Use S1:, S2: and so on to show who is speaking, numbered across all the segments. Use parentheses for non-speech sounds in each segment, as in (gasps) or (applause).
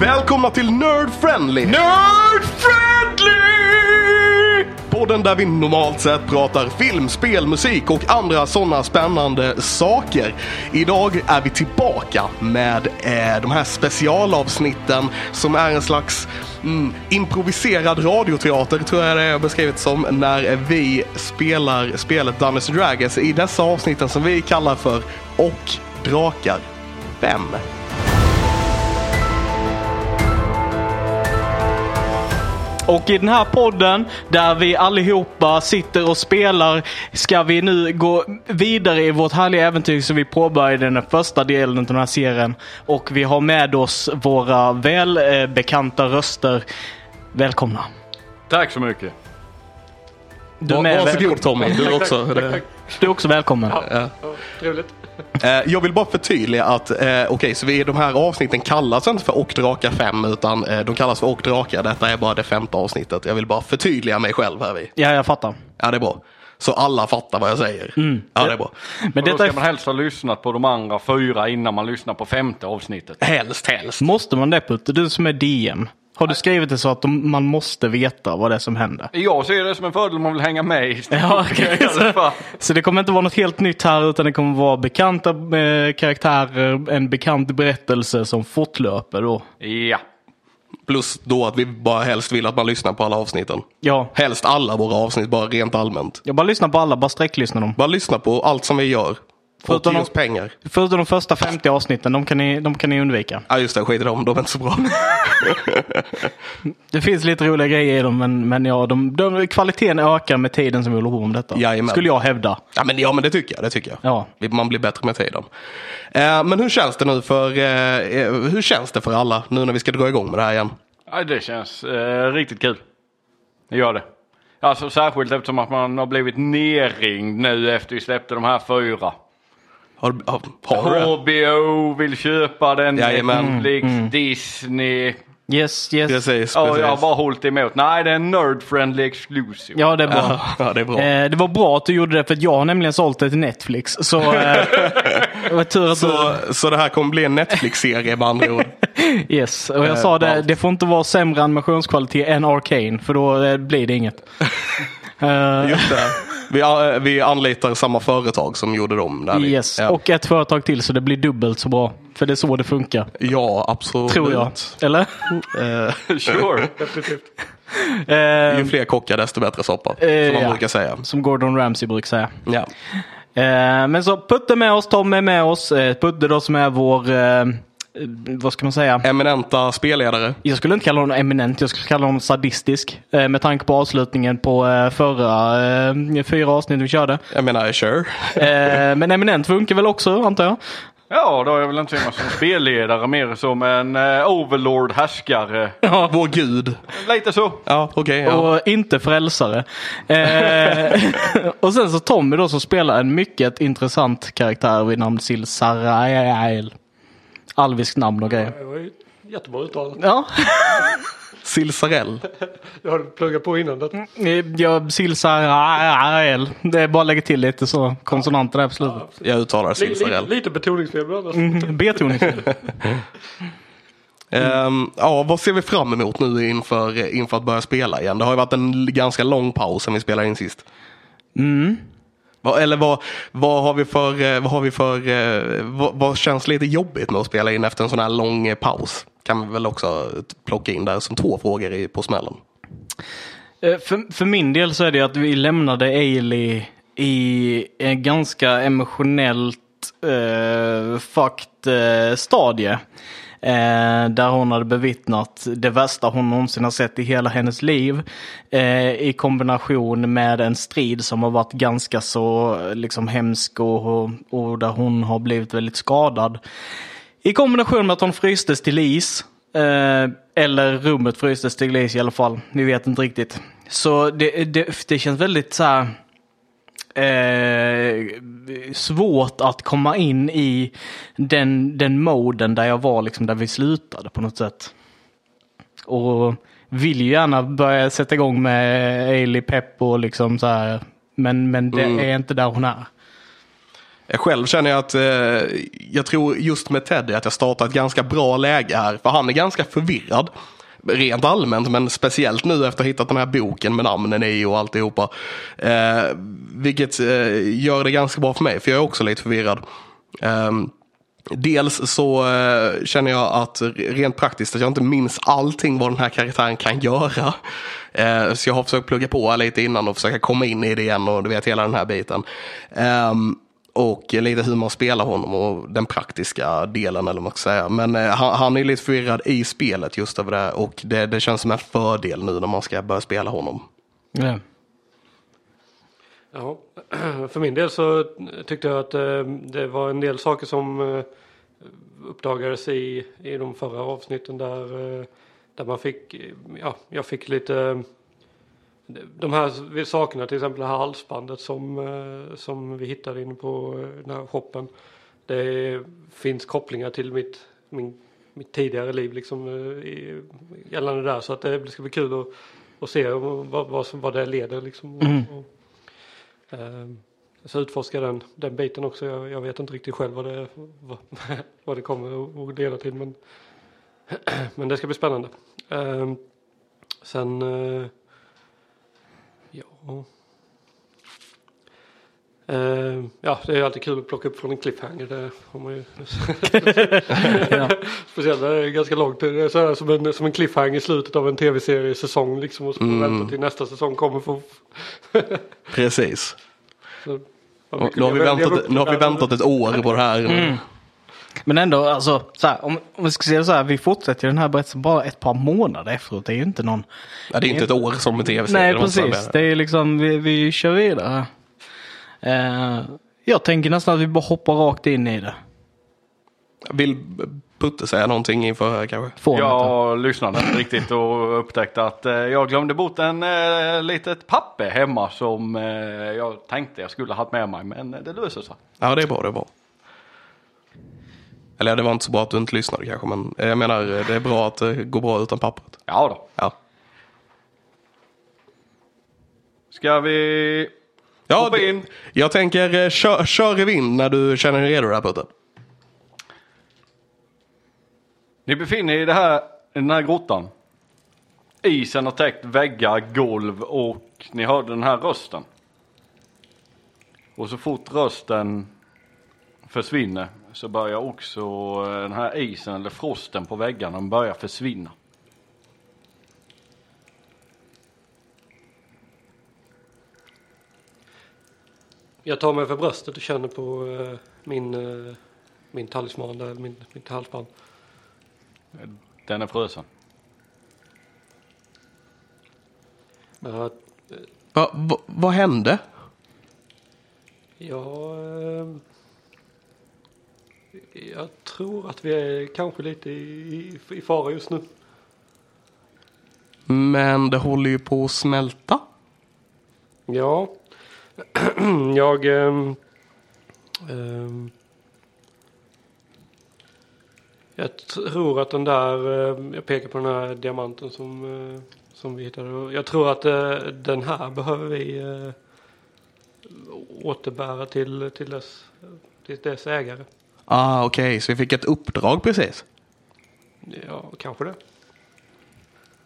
S1: Välkomna till Nerd Friendly!
S2: Nerd friendly!
S1: Podden där vi normalt sett pratar film, spel, musik och andra sådana spännande saker. Idag är vi tillbaka med eh, de här specialavsnitten som är en slags mm, improviserad radioteater tror jag det är beskrivet som när vi spelar spelet Dungeons and Dragons i dessa avsnitten som vi kallar för Och Drakar 5.
S2: Och i den här podden där vi allihopa sitter och spelar ska vi nu gå vidare i vårt härliga äventyr som vi påbörjade den första delen av den här serien. Och vi har med oss våra välbekanta röster. Välkomna.
S3: Tack så mycket.
S2: Du är, med, väl-
S1: Varsågod Tommy, du också.
S2: du är också välkommen.
S3: Trevligt.
S1: Eh, Jag vill bara förtydliga att, eh, okej, så vi, de här avsnitten kallas inte för Och Drakar 5, utan eh, de kallas för Och Drakar. Detta är bara det femte avsnittet. Jag vill bara förtydliga mig själv här vid.
S2: Ja, jag fattar.
S1: Ja, det är bra. Så alla fattar vad jag säger. Ja, det är bra.
S2: Men
S3: Då
S2: detta
S3: ska
S2: är
S3: man helst ha lyssnat på de andra fyra innan man lyssnar på femte avsnittet.
S1: Helst, helst.
S2: Måste man det Putte? Du som är DM. Har du skrivit det så att de, man måste veta vad det är som händer?
S3: Jag ser det som en fördel om man vill hänga med i
S2: (laughs)
S3: (laughs)
S2: Ja, okej.
S3: i alla fall.
S2: Så det kommer inte vara något helt nytt här utan det kommer vara bekanta eh, karaktärer, en bekant berättelse som fortlöper då.
S3: Ja.
S1: Plus då att vi bara helst vill att man lyssnar på alla avsnitten.
S2: Ja,
S1: Helst alla våra avsnitt, bara rent allmänt.
S2: jag bara lyssnar på alla, bara sträcklyssnar dem.
S1: Bara lyssna på allt som vi gör. Och
S2: Förutom
S1: ge
S2: de-
S1: oss pengar.
S2: Förutom de första 50 avsnitten, de kan ni, de kan ni undvika.
S1: Ja, just det, skit i dem, de är inte så (laughs) bra.
S2: Det finns lite roliga grejer i dem men, men ja, de, de, kvaliteten ökar med tiden som vi håller på med detta.
S1: Jajamän.
S2: Skulle jag hävda.
S1: Ja men, ja, men det tycker jag. Det tycker jag.
S2: Ja.
S1: Vi- Man blir bättre med tiden. Eh, men hur känns det nu för, eh, eh, hur känns det för alla nu när vi ska dra igång med det här igen?
S3: Ja, det känns eh, riktigt kul. Det gör det. Alltså särskilt eftersom att man har blivit nerringd nu efter vi släppte de här fyra.
S1: Har, du- har, har du det?
S3: HBO vill köpa den,
S1: Jajamän.
S3: Netflix,
S2: Mm,
S3: Disney.
S2: Yes, yes.
S1: Precis,
S3: Ja,
S1: precis.
S3: jag har bara hållit emot. Nej, det är en nerd-friendly exclusive.
S2: Ja, det är bra.
S1: Ja, ja, det är bra.
S2: Eh, det var bra att du gjorde det för att jag har nämligen sålt det till Netflix. Så eh, (laughs) det var tur att du...
S1: Så, så det här kommer bli en Netflix-serie med andra ord.
S2: Yes, och jag
S1: Eh,
S2: sa det,
S1: allt.
S2: det får inte vara sämre animationskvalitet än Arcane för då eh, blir det inget. Eh,
S1: Just det. Vi, eh, vi anlitar samma företag som gjorde dem. Där vi,
S2: yes,
S1: ja.
S2: och ett företag till så det blir dubbelt så bra. För det är så det funkar,
S1: ja, absolut.
S2: tror jag. Eller? (laughs)
S1: Eh,
S3: (laughs) Sure.
S2: Eh,
S1: ju fler kockar desto bättre soppa.
S2: Eh,
S1: som man
S2: ja.
S1: brukar säga.
S2: som Gordon Ramsay brukar säga.
S1: Ja.
S2: Eh, men så Putte är med oss, Tom är med oss. Eh, Putte då som är vår, eh, eh, vad ska man säga?
S1: Eminenta spelledare.
S2: Jag skulle inte kalla honom eminent, jag skulle kalla honom sadistisk. Eh, med tanke på avslutningen på eh, förra eh, fyra avsnitt vi körde.
S1: Jag menar, sure.
S2: Eh, men eminent funkar väl också antar jag?
S3: Ja, då har jag väl inte sett mig som spelledare mer som en eh, overlord härskare.
S1: Vår gud.
S3: Lite så.
S1: Ja, okej. ja.
S2: Och inte frälsare. Eh, (laughs) och sen så Tommy då som spelar en mycket intressant karaktär vid namn Sil Sarael. Alvisk namn och grejer.
S4: Det var ju jättebra uttalat.
S2: Ja,
S1: Silsarell.
S4: Jag hade pluggat på innan
S2: Mm. (laughs)
S4: det.
S2: jag Sil Sarael. Det är bara att lägga till lite så konsonanter där på slutet.
S1: Jag uttalar
S4: Li, li,
S1: Silsarell.
S4: lite betoningsfel ibland. Alltså.
S2: Betoning.
S1: Ehm, ja, vad ser vi fram emot nu inför, eh, inför att börja spela igen? Det har ju varit en l- ganska lång paus sen vi spelade in sist. Vad- Eller vad, vad har vi för, eh, vad, har vi för eh, vad, vad känns lite jobbigt med att spela in efter en sån här lång eh, paus? Kan vi väl också t- plocka in där som två frågor i, på smällen.
S2: Eh, För, för min del så är det ju att vi lämnade Ailey i en ganska emotionellt eh, fucked eh, stadie. Eh, där hon hade bevittnat det värsta hon någonsin har sett i hela hennes liv. Eh, I kombination med en strid som har varit ganska så eh, liksom, hemsk och, och där hon har blivit väldigt skadad. I kombination med att hon frystes till is. Eh, eller rummet frystes till is i alla fall. Vi vet inte riktigt. Så det, det, det känns väldigt så här. Eh, svårt att komma in i den, den moden där jag var, liksom där vi slutade på något sätt. Och vill ju gärna börja sätta igång med Ailey Pepp och liksom så här. Men, men det är inte där hon är.
S1: Eh, Själv känner jag att eh, jag tror just med Teddy att jag startar ett ganska bra läge här. För han är ganska förvirrad. Rent allmänt men speciellt nu efter att ha hittat den här boken med namnen i och alltihopa. Eh, vilket eh, gör det ganska bra för mig för jag är också lite förvirrad. Ehm, Dels så eh, känner jag att rent praktiskt att jag inte minns allting vad den här karaktären kan göra. Eh, så jag har försökt plugga på här lite innan och försöka komma in i det igen och du vet hela den här biten. Ehm, och lite hur man spelar honom och den praktiska delen eller vad man ska säga. Men eh, han, han är lite förvirrad i spelet just över det här, och det, det känns som en fördel nu när man ska börja spela honom.
S2: Ja.
S4: Ja, (clears throat) för min del så tyckte jag att eh, det var en del saker som eh, uppdagades i, i de förra avsnitten där, eh, där man fick, eh, ja, jag fick lite eh, de här sakerna, till exempel det här halsbandet som, eh, som vi hittade inne på eh, den här shoppen. Det finns kopplingar till mitt, min, mitt tidigare liv liksom, eh, i- gällande där så att det ska bli kul att, att se vad, vad, som, vad det leder liksom. Och, Ehm, Så utforska den, den biten också. Jag, jag vet inte riktigt själv vad det, vad, (laughs) vad det kommer att- att leda till. Men, (clears throat) men det ska bli spännande. Ehm, Sen... eh, Ja. Ehm, Ja, det är alltid kul att plocka upp från en cliffhanger. Det har man ju. (laughs) Speciellt när det är ganska långt. Det är så här som en, som en cliffhanger i slutet av en tv-seriesäsong. Liksom, och så får man vänta till nästa säsong kommer för att
S1: Precis.
S4: Så, vad
S1: Och
S4: mycket
S1: nu har vi
S4: lever- lever
S1: väntat,
S4: upp
S1: nu har vi
S4: till det.
S1: väntat ett år på det här.
S2: Mm. Men ändå, alltså, så här, om, om vi ska se det så här, vi fortsätter ju den här berättelsen bara ett par månader efteråt. Det är ju inte någon...
S1: Ja, det är inte ett år som en tv-serie.
S2: Nej,
S1: det måste jag
S2: precis.
S1: säga.
S2: Det är liksom, vi, vi kör vidare. Eh, jag tänker nästan att vi bara hoppar rakt in i det.
S1: Vill Putte säga någonting inför här kanske?
S2: Formet, då.
S3: Jag lyssnade inte riktigt och upptäckte att eh, jag glömde bort en eh, litet papper hemma som eh, jag tänkte jag skulle haft med mig men eh, det löser sig.
S1: Ja, det är bra, det är bra. Eller ja, det var inte så bra att du inte lyssnade kanske, men eh, jag menar eh, det är bra att det går bra utan pappret.
S3: Ja då.
S1: Ja,
S3: Ska vi
S1: ja
S3: hoppa
S1: det-
S3: in?
S1: jag tänker eh, kör, kör i vind när du känner dig redo där Putte.
S3: Ni befinner er i det här, i den här grottan. Isen har täckt väggar, golv och ni hörde den här rösten. Och så fort rösten försvinner så börjar också eh, den här isen eller frosten på väggarna den börjar försvinna.
S4: Jag tar mig för bröstet och känner på eh, min, eh, min talisman där, min, mitt halsband.
S3: Den är frusen.
S4: Eh,
S1: Va, va, vad hände?
S4: jag, eh, jag tror att vi är kanske lite i, i, i fara just nu.
S1: Men det håller ju på att smälta.
S4: Ja, (clears throat) jag... ehm, ehm, jag tror att den där... ehm, jag pekar på den här diamanten som, eh, som vi hittade. Jag tror att eh, den här behöver vi eh, återbära till, till, dess, till dess ägare.
S1: Ah, okej, så vi fick ett uppdrag precis.
S4: Ja, kanske det.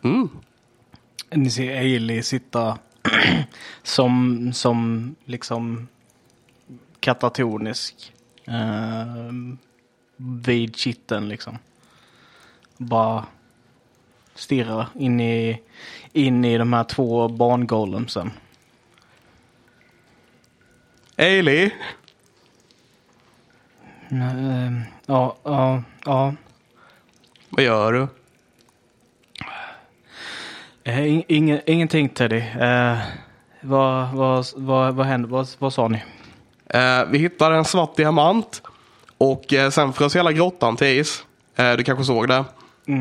S1: Mm.
S2: Ni ser Ailey sitta (clears throat) som, som liksom katatonisk eh, vid kitteln liksom. Bara stirra in i, in i de här två barngolemsen.
S1: Ailey,
S2: Eh, Ja, ja, ja.
S1: vad gör du?
S2: Eh, in- Ingen, ingenting Teddy. Eh, vad, vad, vad, vad hände? Vad, vad sa ni?
S1: Eh, vi hittar en svart diamant och eh, sen frös hela grottan till is. Eh, du kanske såg det.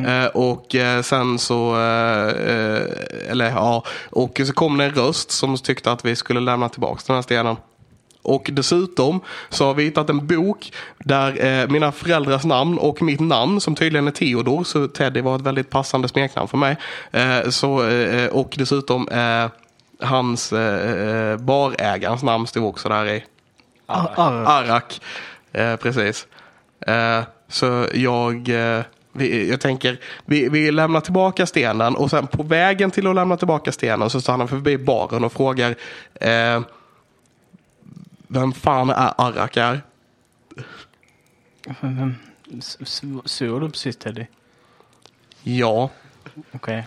S1: Eh, och eh, sen så, eh, eh, eller ja, och så kom det en röst som tyckte att vi skulle lämna tillbaka den här stenen. Och dessutom så har vi hittat en bok där eh, mina föräldrars namn och mitt namn som tydligen är Theodor, så Teddy var ett väldigt passande smeknamn för mig. Eh, så, eh, och dessutom eh, hans eh, eh, barägarens namn stod också där i.
S2: Ar- Ar-
S1: Arak. Eh, precis. Eh, så jag, eh, vi, jag tänker, vi, vi lämnar tillbaka stenen och sen på vägen till att lämna tillbaka stenen så stannar han förbi baren och frågar eh, vem fan är Arak är?
S2: S- s- Svor du precis Teddy?
S1: Ja,
S2: Okej.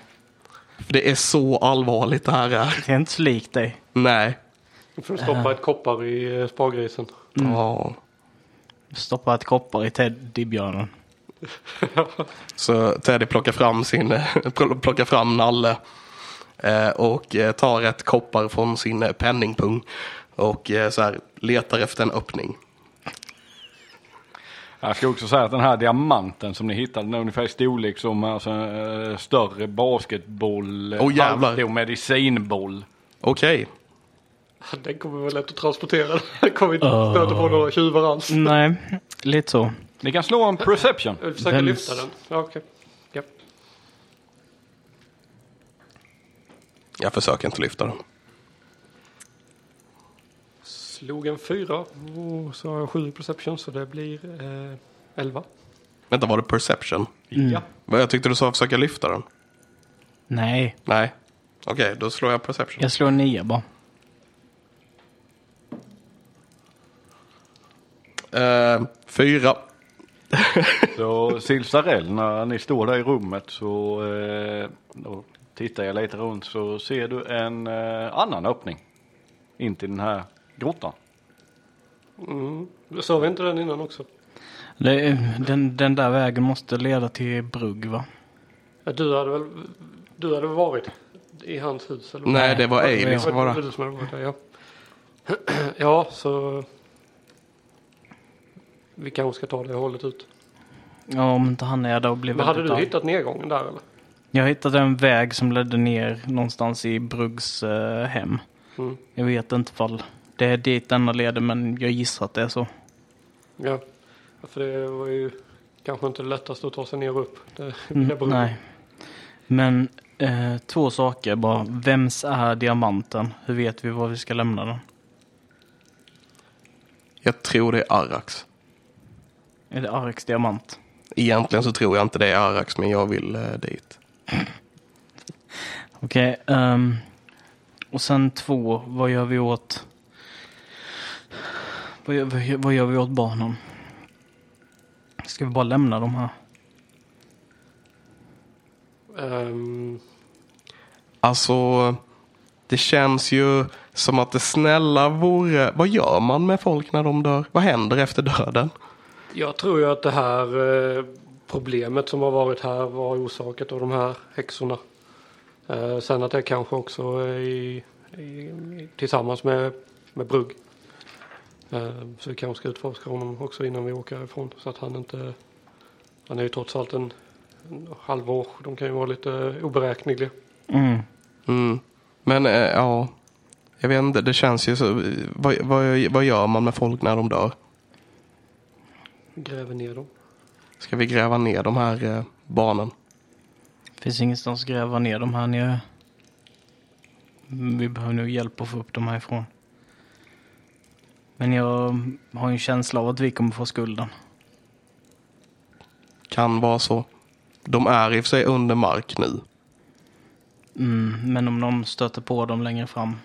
S1: det är så allvarligt det här är.
S2: Det är inte så likt dig.
S1: Nej.
S4: För att stoppa ett koppar i eh, spargrisen. (laughs)
S1: Ja.
S2: Stoppa ett koppar i teddybjörnen.
S1: Så Teddy plockar fram, sin, (laughs) plockar fram Nalle eh, och eh, tar ett koppar från sin eh, penningpung och eh, så här, letar efter en öppning.
S3: Jag ska också säga att den här diamanten som ni hittade, den är ungefär i storlek som alltså, en eh, större basketboll,
S1: Åh, jävlar.
S3: halvstor medicinboll.
S1: Okej,
S4: Den kommer vara lätt att transportera. Den kommer inte stöta på några tjuvar alls.
S2: Nej, lite så.
S3: Ni kan slå en perception.
S4: Jag försöker
S2: Vems-
S4: lyfta den. Ja, okej. Ja.
S1: jag försöker inte lyfta den.
S4: Slog en fyra. Och så har jag sju i perception så det blir eh, elva.
S1: Vänta, var det perception?
S3: Ja.
S1: Vad, Jag tyckte du sa försöka lyfta den.
S2: Nej,
S1: Nej. Okej, då slår jag perception.
S2: jag slår en nia bara.
S1: Eh, fyra.
S3: Så Silsarell, när ni står där i rummet så eh, då tittar jag lite runt så ser du en eh, annan öppning in till den här grottan.
S4: Sa Mm. vi inte den innan också?
S2: Det, den, den där vägen måste leda till Brugg va?
S4: Ja, du hade väl du hade väl varit i hans hus? Eller vad?
S1: Nej, det var
S4: Vad-
S1: Ailey som var
S4: vad-
S1: där.
S4: du som hade varit där, ja. (clears throat) ja, så... Vi kanske ska ta det hållet ut.
S2: Ja, om inte han är där och blir
S4: Men hade
S2: väldigt
S4: du
S2: arg.
S4: hittat nedgången där eller?
S2: Jag hittade en väg som ledde ner någonstans i Bruggs eh, hem.
S4: Mm.
S2: Jag vet inte fall det är dit denna leder men jag gissar att det är så.
S4: Ja. Ja, För det var ju kanske inte det lättaste att ta sig ner och upp. Det,
S1: Mm.
S4: det beror-
S2: Mm, nej. Men eh, två saker bara. Vems är diamanten? Hur vet vi var vi ska lämna den?
S1: Jag tror det är Araks.
S2: Är det Areks diamant?
S1: Egentligen så tror jag inte det är Araks, men jag vill eh, dit.
S2: Okej. ehm, och sen två. Vad gör vi åt... Vad gör, vad gör- vad gör vi åt barnen? Ska vi bara lämna dem här?
S4: Ehm,
S1: Alltså, det känns ju som att det snälla vore... Vad gör man med folk när de dör? Vad händer efter döden?
S4: jag tror ju att det här eh, problemet som har varit här var orsakat av de här häxorna. Eh, sen att det kanske också är i, i, i, tillsammans med, med Brugg. Eh, så vi kanske ska utforska honom också innan vi åker härifrån. Så att han inte... Han är ju trots allt en, en halvår. De kan ju vara lite oberäkneliga.
S2: Mm.
S1: Mm. Men eh, ja, jag vet inte, det känns ju så. Vad, vad, vad gör man med folk när de dör?
S4: Gräver ner dem.
S1: Ska vi gräva ner de här eh, barnen?
S2: Finns ingenstans att gräva ner dem här nere. Mm, Vi behöver nog hjälp att få upp dem härifrån. Men jag har ju en känsla av att vi kommer få skulden.
S1: Kan vara så. De är i och för sig under mark nu.
S2: Mm, men om de stöter på dem längre fram.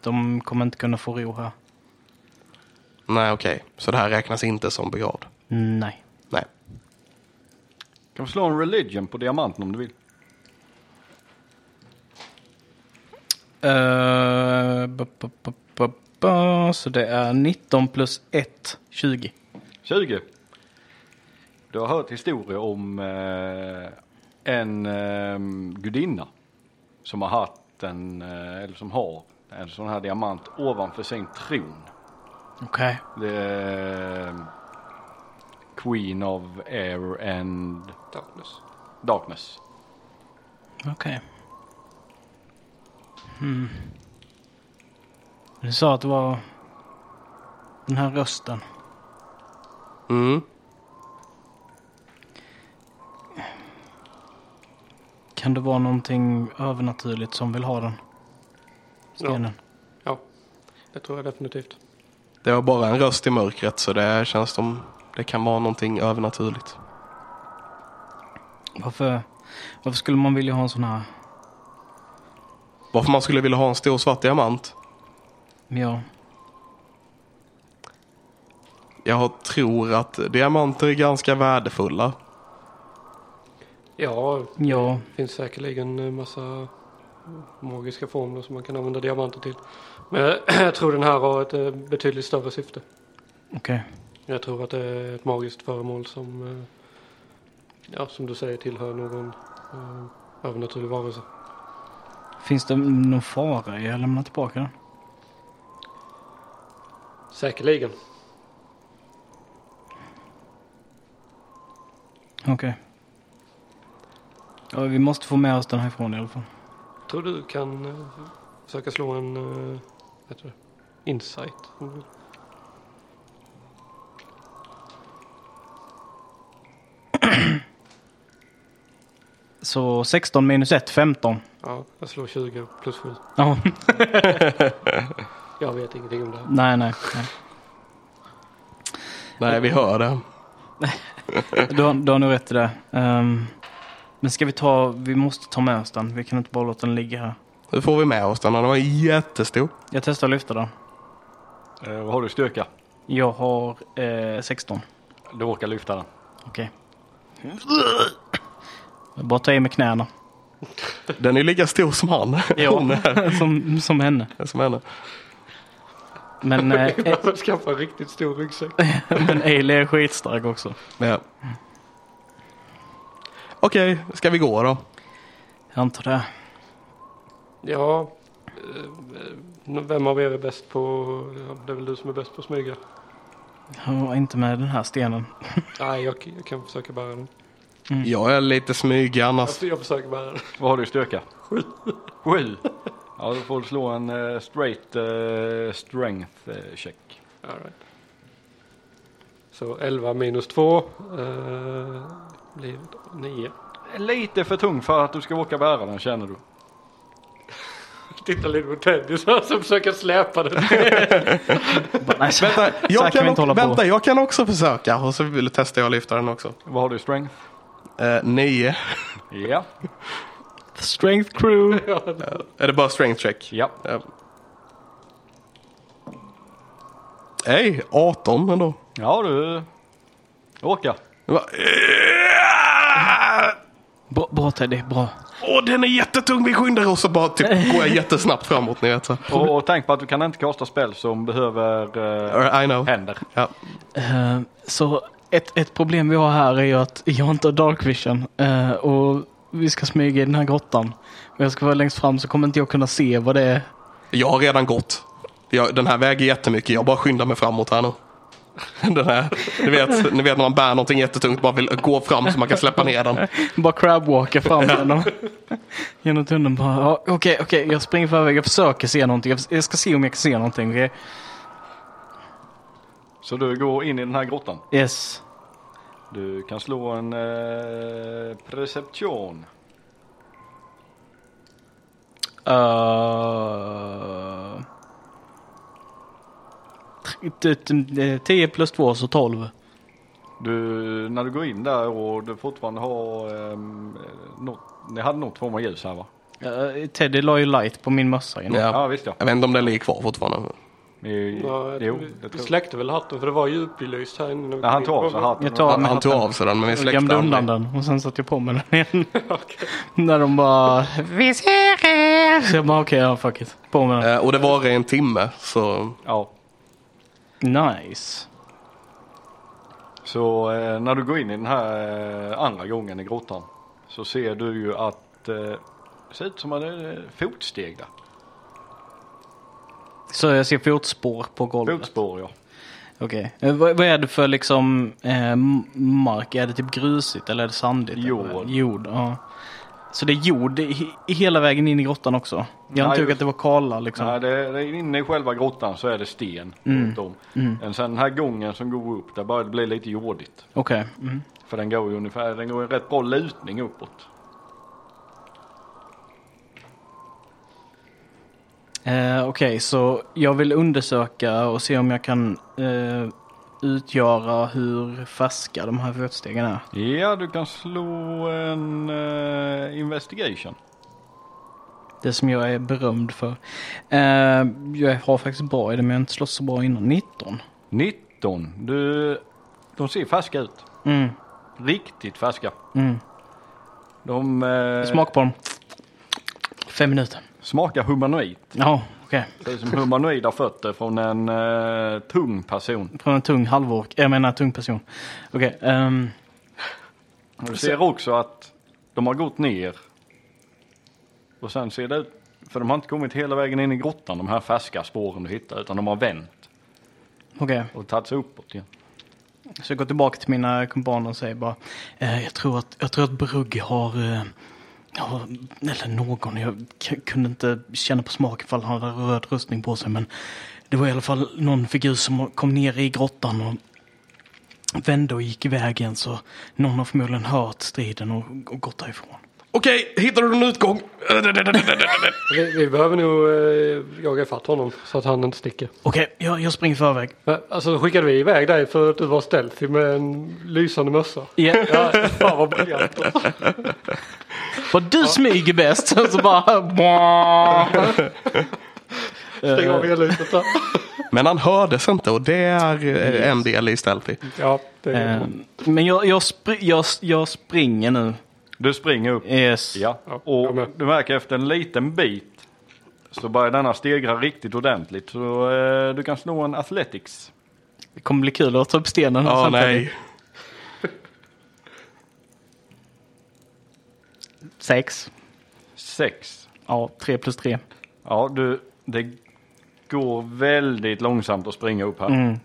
S2: De kommer inte kunna få ro här.
S1: Nej, okej. Så det här räknas inte som begravd.
S2: Nej.
S1: Nej.
S3: Kan få slå en religion på diamanten om du vill.
S2: Eh, ba, ba, ba, ba, ba. Så det är 19 plus 1, 20.
S3: 20. Du har hört historier om eh, en eh, gudinna som har haft en, eh, eller som har en sån här diamant ovanför sin tron.
S2: Okej.
S3: Det är eh, Queen of Air and
S4: Darkness.
S3: Darkness.
S2: Okej. Hmm. Du sa att det var den här rösten.
S1: Mm.
S2: Kan det vara någonting övernaturligt som vill ha den? Stenen.
S4: Ja, det tror jag definitivt.
S1: Det var bara en röst i mörkret så det känns som det kan vara någonting övernaturligt.
S2: Varför, varför skulle man vilja ha en sån här?
S1: Varför man skulle vilja ha en stor svart diamant?
S2: Ja.
S1: Jag tror att diamanter är ganska värdefulla.
S4: Ja,
S2: Ja.
S4: det finns säkerligen en massa magiska formler som man kan använda diamanter till. Men jag (clears throat) tror den här har ett eh, betydligt större syfte.
S2: Okej.
S4: Jag tror att det är ett magiskt föremål som, eh, ja, som du säger tillhör någon eh, övernaturlig varelse.
S2: Finns det någon fara i att lämna tillbaka den?
S4: Säkerligen.
S2: Okej. Ja, vi måste få med oss den härifrån i alla fall.
S4: Tror du kan eh, försöka slå en eh, vad heter det? insight? Mm.
S2: Så 16 minus 1, 15.
S4: Ja, jag slår 20 plus 7.
S2: Ja,
S4: Jag vet ingenting om det här.
S2: nej, nej. nej.
S1: Nej, vi hör det.
S2: Du, har, du har nog rätt i det. Ehm, men ska vi ta, vi måste ta med oss den. Vi kan inte bara låta den ligga här.
S1: Hur får vi med oss den? Den var jättestor.
S2: Jag testar att lyfta den.
S3: Eh, vad har du i styrka?
S2: Jag har eh, 16.
S3: Du orkar lyfta den.
S2: Okej. Jag bara ta i med knäna.
S1: Den är lika stor som han. (laughs) Hon är
S2: som, som henne.
S1: som henne.
S2: Men, eh,
S4: Jag behöver skaffa en riktigt stor ryggsäck.
S2: men Ailey är skitstark också.
S1: Ja. Okej, ska vi gå då?
S2: Jag antar det.
S4: Ja, eh, vem av er är bäst på... Ja, det är väl du som är bäst på att smyga?
S2: Jag var inte med den här stenen.
S4: Nej, jag, jag kan försöka bära den.
S1: Jag är lite smygig annars.
S4: Jag, jag försöker bära den.
S3: Vad har du i styrka? Sju. Sju? Ja, då får du slå en eh, straight eh, strength eh, check.
S4: All right. Så 11 minus 2 eh, blir 9.
S3: Lite för tung för att du ska orka bära den känner du.
S4: Titta lite på Teddy så här som försöker
S3: (laughs)
S4: släpa den.
S2: Bara, Nej, så,
S1: Vänta,
S2: så här
S1: jag
S2: kan
S1: kan,
S2: vi inte hålla
S1: också,
S2: på.
S1: vänta jag kan också försöka. Och så vill testa jag att lyfta den också.
S3: Vad har du i strength?
S1: Eh, nio.
S3: Ja.
S2: Strength crew.
S1: Är det bara strength check?
S3: Ja.
S1: Ja. Nej, 18 ändå.
S3: Ja du. Orkar.
S1: Jag bara, "Eah!"
S2: Bra, bra Teddy, bra.
S1: Åh, den är jättetung, vi skyndar oss och bara
S2: (laughs)
S1: typ går jag jättesnabbt framåt. Ni vet så.
S3: Och, och tänk på att du kan inte kasta spel som behöver eh,
S1: I know.
S3: händer.
S1: Ja.
S2: Eh, så ett, ett problem vi har här är ju att jag inte har dark vision. eh, och vi ska smyga i den här grottan. Och jag ska vara längst fram så kommer inte jag kunna se vad det är.
S1: Jag har redan gått. Jag, den här väger jättemycket, jag bara skyndar mig framåt här nu. (laughs) Den här, ni, vet, ni vet när man bär någonting jättetungt, bara vill gå fram så man kan släppa ner
S2: (laughs)
S1: den.
S2: Bara crabwalka fram genom, (laughs) genom tunneln. Bara, ja, Okej, okej, jag springer förväg. Jag försöker se någonting. Jag- Jag ska se om jag kan se någonting. okej?
S3: Så du går in i den här grottan.
S2: Yes.
S3: Du kan slå en eh, perception.
S2: eh, Uh, t- t- t- eh, 10 plus 2 så 12.
S3: Du, när du går in där och du fortfarande har ehm, något, ni hade något form av ljus här va?
S2: Eh, Teddy la ju light på min mössa. innan.
S3: Ja,
S1: Ja.
S3: visst ja.
S1: Jag vet inte om den ligger kvar fortfarande.
S3: I,
S4: Ja, jag
S3: jo, det
S4: tror-
S3: tror
S4: vi
S3: jag.
S4: släckte väl hatten för det var ju upplyst här inne. när vi
S3: När han
S4: kom in.
S3: tar så hatten.
S2: Jag tar-
S1: Han, han tog av sig den, men vi
S2: Jag
S1: släckte
S2: gömde undan
S1: den.
S2: den och sen satte jag på mig den
S3: (laughs)
S2: igen. (laughs)
S4: Okej.
S2: När de bara Vi ser er! Så jag bara okej, ja fuck it. På med den.
S1: Eh, Och det var en timme, så
S3: Ja. Eh.
S2: Nice.
S3: Så eh, när du går in i den här eh, andra gången i grottan så ser du ju att eh, det ser ut som att det är eh, fotsteg där.
S2: Så jag ser fotspår på golvet.
S3: Fotspår ja.
S2: Okej. Eh, Vad, vad är det för liksom eh, m- mark? Är det typ grusigt eller är det sandigt?
S3: Jord.
S2: Jord, ja. Så det är jord i- i hela vägen in i grottan också? Jag
S3: Nej,
S2: antog
S3: just-
S2: att det var kala liksom.
S3: Nej, det, det, är inne i själva grottan så är det sten
S2: Mm.
S3: runt om. Men sen den här gången som går upp där börjar det bli lite jordigt.
S2: Okej. Mm.
S3: För den går ju ungefär, den går en rätt bra lutning uppåt.
S2: Eh, Okej, så jag vill undersöka och se om jag kan eh, utgöra hur färska de här fotstegen är.
S3: Ja, du kan slå en eh, investigation.
S2: Det som jag är berömd för. Eh, jag har faktiskt bra i det men jag har inte slått så bra innan. 19.
S3: 19. Du, de ser färska ut.
S2: Mm,
S3: Riktigt färska.
S2: mm.
S3: De eh,
S2: Smak på dem. Fem minuter.
S3: smakar humanoid.
S2: Ja, okej.
S3: Det är som humanoida fötter från en eh, tung person.
S2: Från en tung halvork. Jag menar tung person. Okej. ehm,
S3: Du ser också att de har gått ner. Och sen ser det ut, för de har inte kommit hela vägen in i grottan, de här färska spåren du hittar, utan de har vänt
S2: okej.
S3: och tagit sig uppåt igen.
S2: Så jag går tillbaka till mina kumpaner och säger bara. Eh, jag, tror att, jag tror att Brugge har, eh, har... Eller någon. Jag k- kunde inte känna på smak ifall han hade röd rustning på sig. Men det var i alla fall någon figur som kom ner i grottan och vände och gick iväg igen. Så någon har förmodligen hört striden och, och gått därifrån.
S1: Okej, hittar du någon
S2: (laughs)
S1: utgång?
S4: Vi, vi behöver nog eh, jaga ifatt honom så att han inte sticker.
S2: Okej, jag, jag springer i förväg.
S4: Men, Alltså då skickade vi iväg dig för att du var stealthy med en lysande mössa.
S2: Yeah.
S4: Ja, fan vad (laughs) briljant.
S2: Vad du smyger bäst. (laughs) Så bara...
S4: Stäng av elljuset där.
S1: Men han hördes inte och det är eh, en del i stealthy.
S4: Ja, det är
S2: Eh, Men jag, jag, spr- jag, jag springer nu.
S3: Du springer upp.
S2: Yes.
S3: Ja,
S4: jag
S3: och
S4: med.
S3: du märker efter en liten bit så börjar denna stegra riktigt ordentligt. Så eh, du kan slå en athletics.
S2: Det kommer bli kul att ta upp stenen här
S1: Ja,
S2: samtidigt.
S1: nej.
S2: Sex.
S3: Sex.
S2: Ja, tre plus tre.
S3: Ja, du, det går väldigt långsamt att springa upp här.
S2: Mm.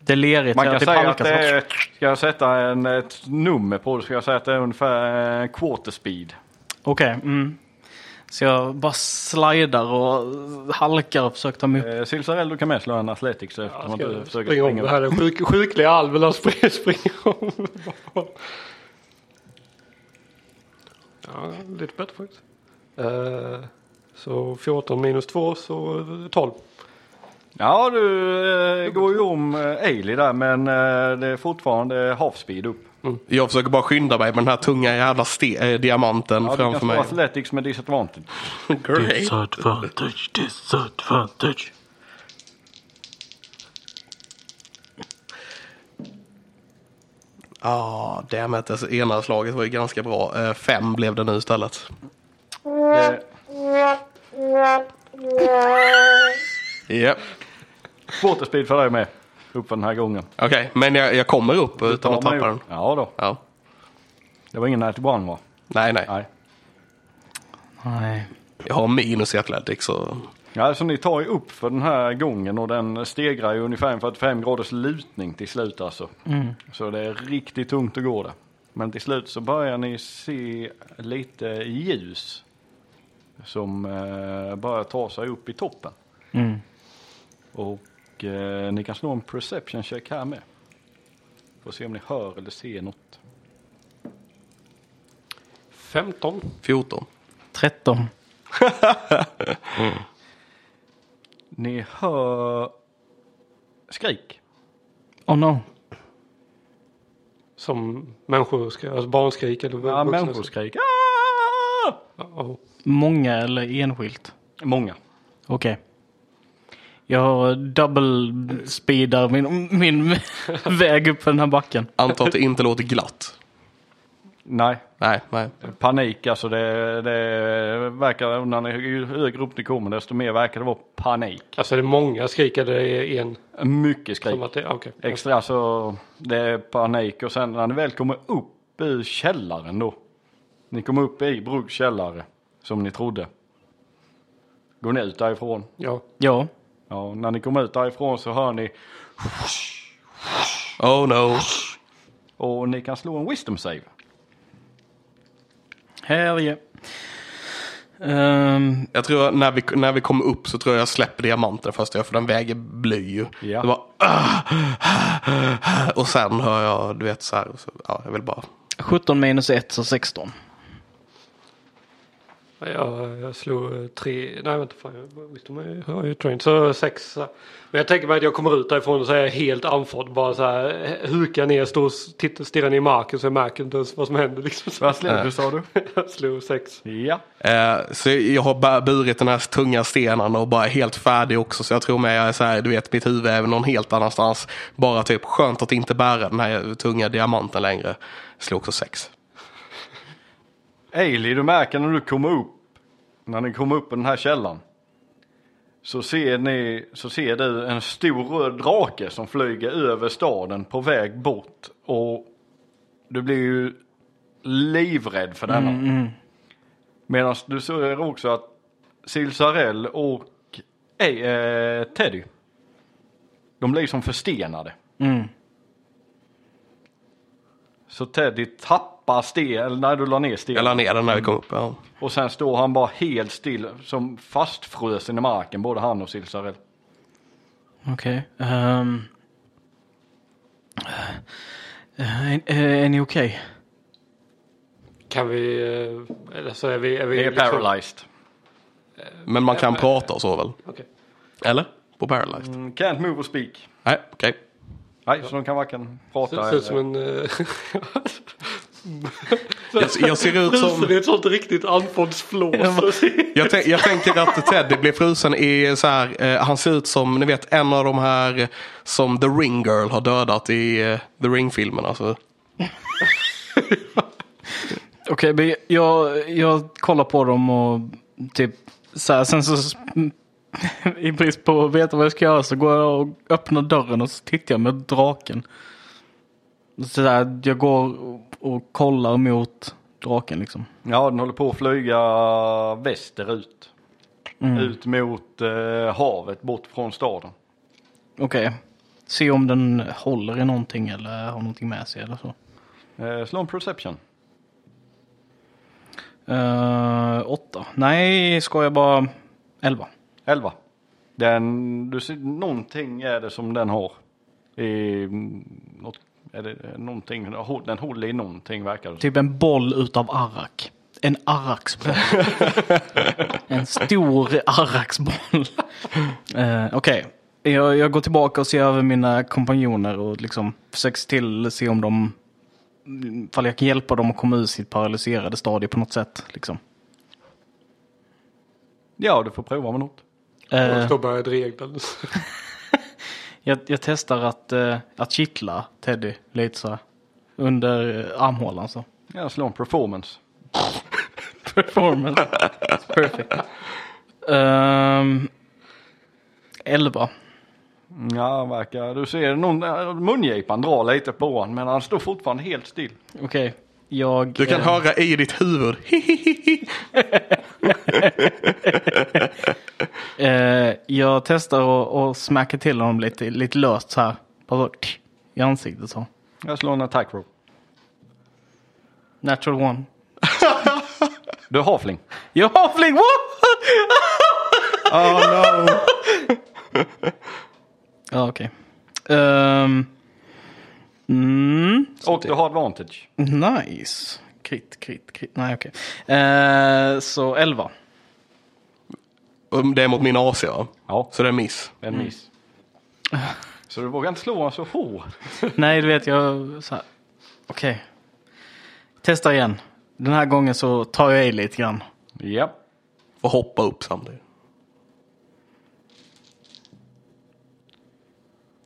S2: Det är lerigt.
S3: Man
S2: jag
S3: kan
S2: typ
S3: säga att
S2: halkar
S3: det
S2: så.
S3: är, ska jag sätta en, ett nummer på det, ska jag säga att det är ungefär eh, quarter speed.
S2: Okej. mm. Så jag bara slidar och halkar och försöker ta mig upp.
S3: Eh, Silsarell, du kan med slå en athletics eftersom att du
S4: Ska
S3: försöker
S4: springa om
S3: springa
S4: det
S3: upp.
S4: här. Den Sjuk, sjukliga alverna springer, (laughs) springer om. Ja, lite bättre faktiskt. Eh, så 14 minus 2 så 12.
S3: Ja, du eh, går ju om eh, Ailey där, men eh, det är fortfarande half speed upp.
S1: Jag försöker bara skynda mig med den här tunga jävla ste- eh, diamanten
S3: Ja, du kan
S1: framför
S3: slå
S1: mig.
S3: athletics med disadvantage.
S1: Great.
S5: Disadvantage, disadvantage.
S1: Ja, damn it. Alltså, ena slaget var ju ganska bra. Eh, Fem blev det nu istället.
S3: Eh,
S1: Japp.
S3: quarter speed för dig med, upp för den här gången.
S1: Okej, men jag, jag kommer upp utan att
S3: Tar man
S1: tappa
S3: ju-
S1: den.
S3: Ja då,
S1: Ja.
S3: det var ingen 91 va?
S1: Nej, nej.
S3: Nej.
S2: Nej.
S1: Jag har minus i Athletics. Så...
S3: Ja, alltså ni tar ju upp för den här gången och den stegrar ju ungefär en 45 graders lutning till slut alltså. Så det är riktigt tungt att gå där. Men till slut så börjar ni se lite ljus som eh, börjar ta sig upp i toppen.
S2: Mm.
S3: Och eh, ni kan slå en perception check här med. Får se om ni hör eller ser något.
S4: 15.
S1: 14.
S2: 13.
S3: Ni hör skrik.
S2: Oh no.
S4: Som människor, ska- alltså barnskrik eller
S3: Ja,
S4: vuxna-
S3: människoskrik. Ah!
S4: Ja,
S2: Många eller enskilt?
S3: Många.
S2: Okej. Jag double speedar min, min (laughs) väg upp för den här backen.
S1: Antar att det inte låter glatt.
S3: Nej,
S1: Nej, nej.
S3: Panik alltså, det, det verkar, när ni, ju högre upp ni kommer desto mer verkar det vara panik.
S4: Alltså är det många skrik eller är det en?
S3: Mycket
S4: Som
S3: skrik.
S4: att det, ah, okej.
S3: Extra alltså, det är panik och sen när ni väl kommer upp i källaren då. Ni kommer upp i Bruggs källare, som ni trodde. Går ni ut därifrån?
S4: Ja.
S2: Ja.
S3: Ja, när ni kommer ut därifrån så hör ni,
S1: Oh no.
S3: och ni kan slå en wisdom save.
S2: Hell yeah. Ehm,
S1: Jag tror att när vi, när vi kom upp så tror jag jag släpper diamanten först. För den väger bly ju.
S3: Ja.
S1: Det var... "Ah, Och sen hör jag, du vet så här. Så, ja, jag vill bara...
S2: 17 minus 1 så 16.
S4: Jag, jag slog tre, nej vänta fan jag visst de är- jag har ju train, så sex. Men jag tänker mig att jag kommer ut därifrån och så är jag helt andfådd bara så här hukar ner, står och tittar, stirrar ner i marken så jag märker inte ens vad som händer liksom. Så
S3: Vad slog du sa du?
S4: (laughs) jag slog sex.
S3: Ja.
S1: Eh, så jag har bara burit den här tunga stenen och bara är helt färdig också. Så jag tror mig jag är så här, du vet mitt huvud är någon helt annanstans. Bara typ skönt att inte bära den här tunga diamanten längre. Slog också sex.
S3: Ailey, du märker när du kommer upp, när ni kommer upp på den här källan. Så ser, ni, så ser du en stor röd drake som flyger över staden på väg bort. Och du blir ju livrädd för denna. Medan du ser också att Silsarell och ej, eh, Teddy, de blir som förstenade.
S2: Mm.
S3: Så Teddy tappar sten, eller när du la ner
S1: Jag
S3: stenen.
S1: la ner den när vi kom upp. Ja.
S3: Och sen står han bara helt still, som fastfrusen i marken, både han och Silsarell.
S2: Okej. ehm. Eh, är, är ni okej?
S4: Kan vi, eh, eller så är vi... Är vi
S3: Det är
S4: liksom-
S3: paralyzed.
S1: Men man kan prata och så väl?
S4: Okej.
S1: Eller? På Paralyzed?
S3: Mm, Can't move or speak.
S1: Nej, okej.
S3: Nej, så de kan varken
S4: Så
S3: prata
S4: det ser ut som
S3: eller...
S4: en... eh, (laughs)
S1: Jag, jag ser ut som...
S4: Rusen är ett sånt riktigt andfåddsflås.
S1: Jag, tän- jag tänker att Teddy blir frusen i så här, eh, han ser ut som ni vet en av de här som The Ring Girl har dödat i eh, The Ring-filmen. Alltså.
S2: Okej, men jag, jag kollar på dem och typ så här, sen så (laughs) i brist på att veta vad jag ska göra så går jag och öppnar dörren och så tittar jag med draken. Så där, jag går och, och kollar mot draken liksom.
S3: Ja, den håller på att flyga västerut. Ut mot eh, havet, bort från staden.
S2: Okej, se om den håller i någonting eller har någonting med sig eller så.
S3: Eh, slå en perception.
S2: Eh, åtta. Nej, ska jag bara elva.
S3: 11. Den, du ser, någonting är det som den har. I, mm, något, är det någonting, den håller i någonting verkar det som.
S2: Typ en boll utav arrak. En arraksboll. en stor arraksboll. Eh, Okej, jag, jag går tillbaka och ser över mina kompanjoner och liksom försöker se till se om de... Ifall jag kan hjälpa dem att komma ur sitt paralyserade stadie på något sätt. Liksom.
S3: Ja, du får prova med något.
S4: (laughs)
S2: Eh,
S4: Då började regeln.
S2: jag, jag testar att, eh, att kittla Teddy lite så här, under eh, armhålan så.
S3: Ja, slå en performance.
S2: Performance. It's perfect. Ehm, elva.
S3: Ja, verkar. Du ser någon, äh, mungipan drar lite på honom, men han står fortfarande helt still.
S2: Okej. Jag...
S1: Du kan
S2: eh,
S1: höra i ditt huvud. (laughs)
S2: eh, jag testar och, och smäcker till honom lite, lite löst så här. Bara så, tch, I ansiktet så.
S3: Jag slår en attack roll.
S2: Natural one.
S3: Du är havling.
S2: Jag har fling! What?
S1: Oh no.
S2: ja, okej. Ehm, mm,
S3: Och du har advantage.
S2: nice. Krit, krit, krit. Nej, okej. Eh, så (laughs) 11.
S1: Um, Det är mot min AC va?
S3: Ja,
S1: Så det är miss.
S3: en miss. Så du vågar inte slå honom så hårt.
S2: Nej, du vet jag... så här. Okej. Testa igen. Den här gången så tar jag i lite grann.
S3: Ja.
S1: Får hoppa upp samtidigt.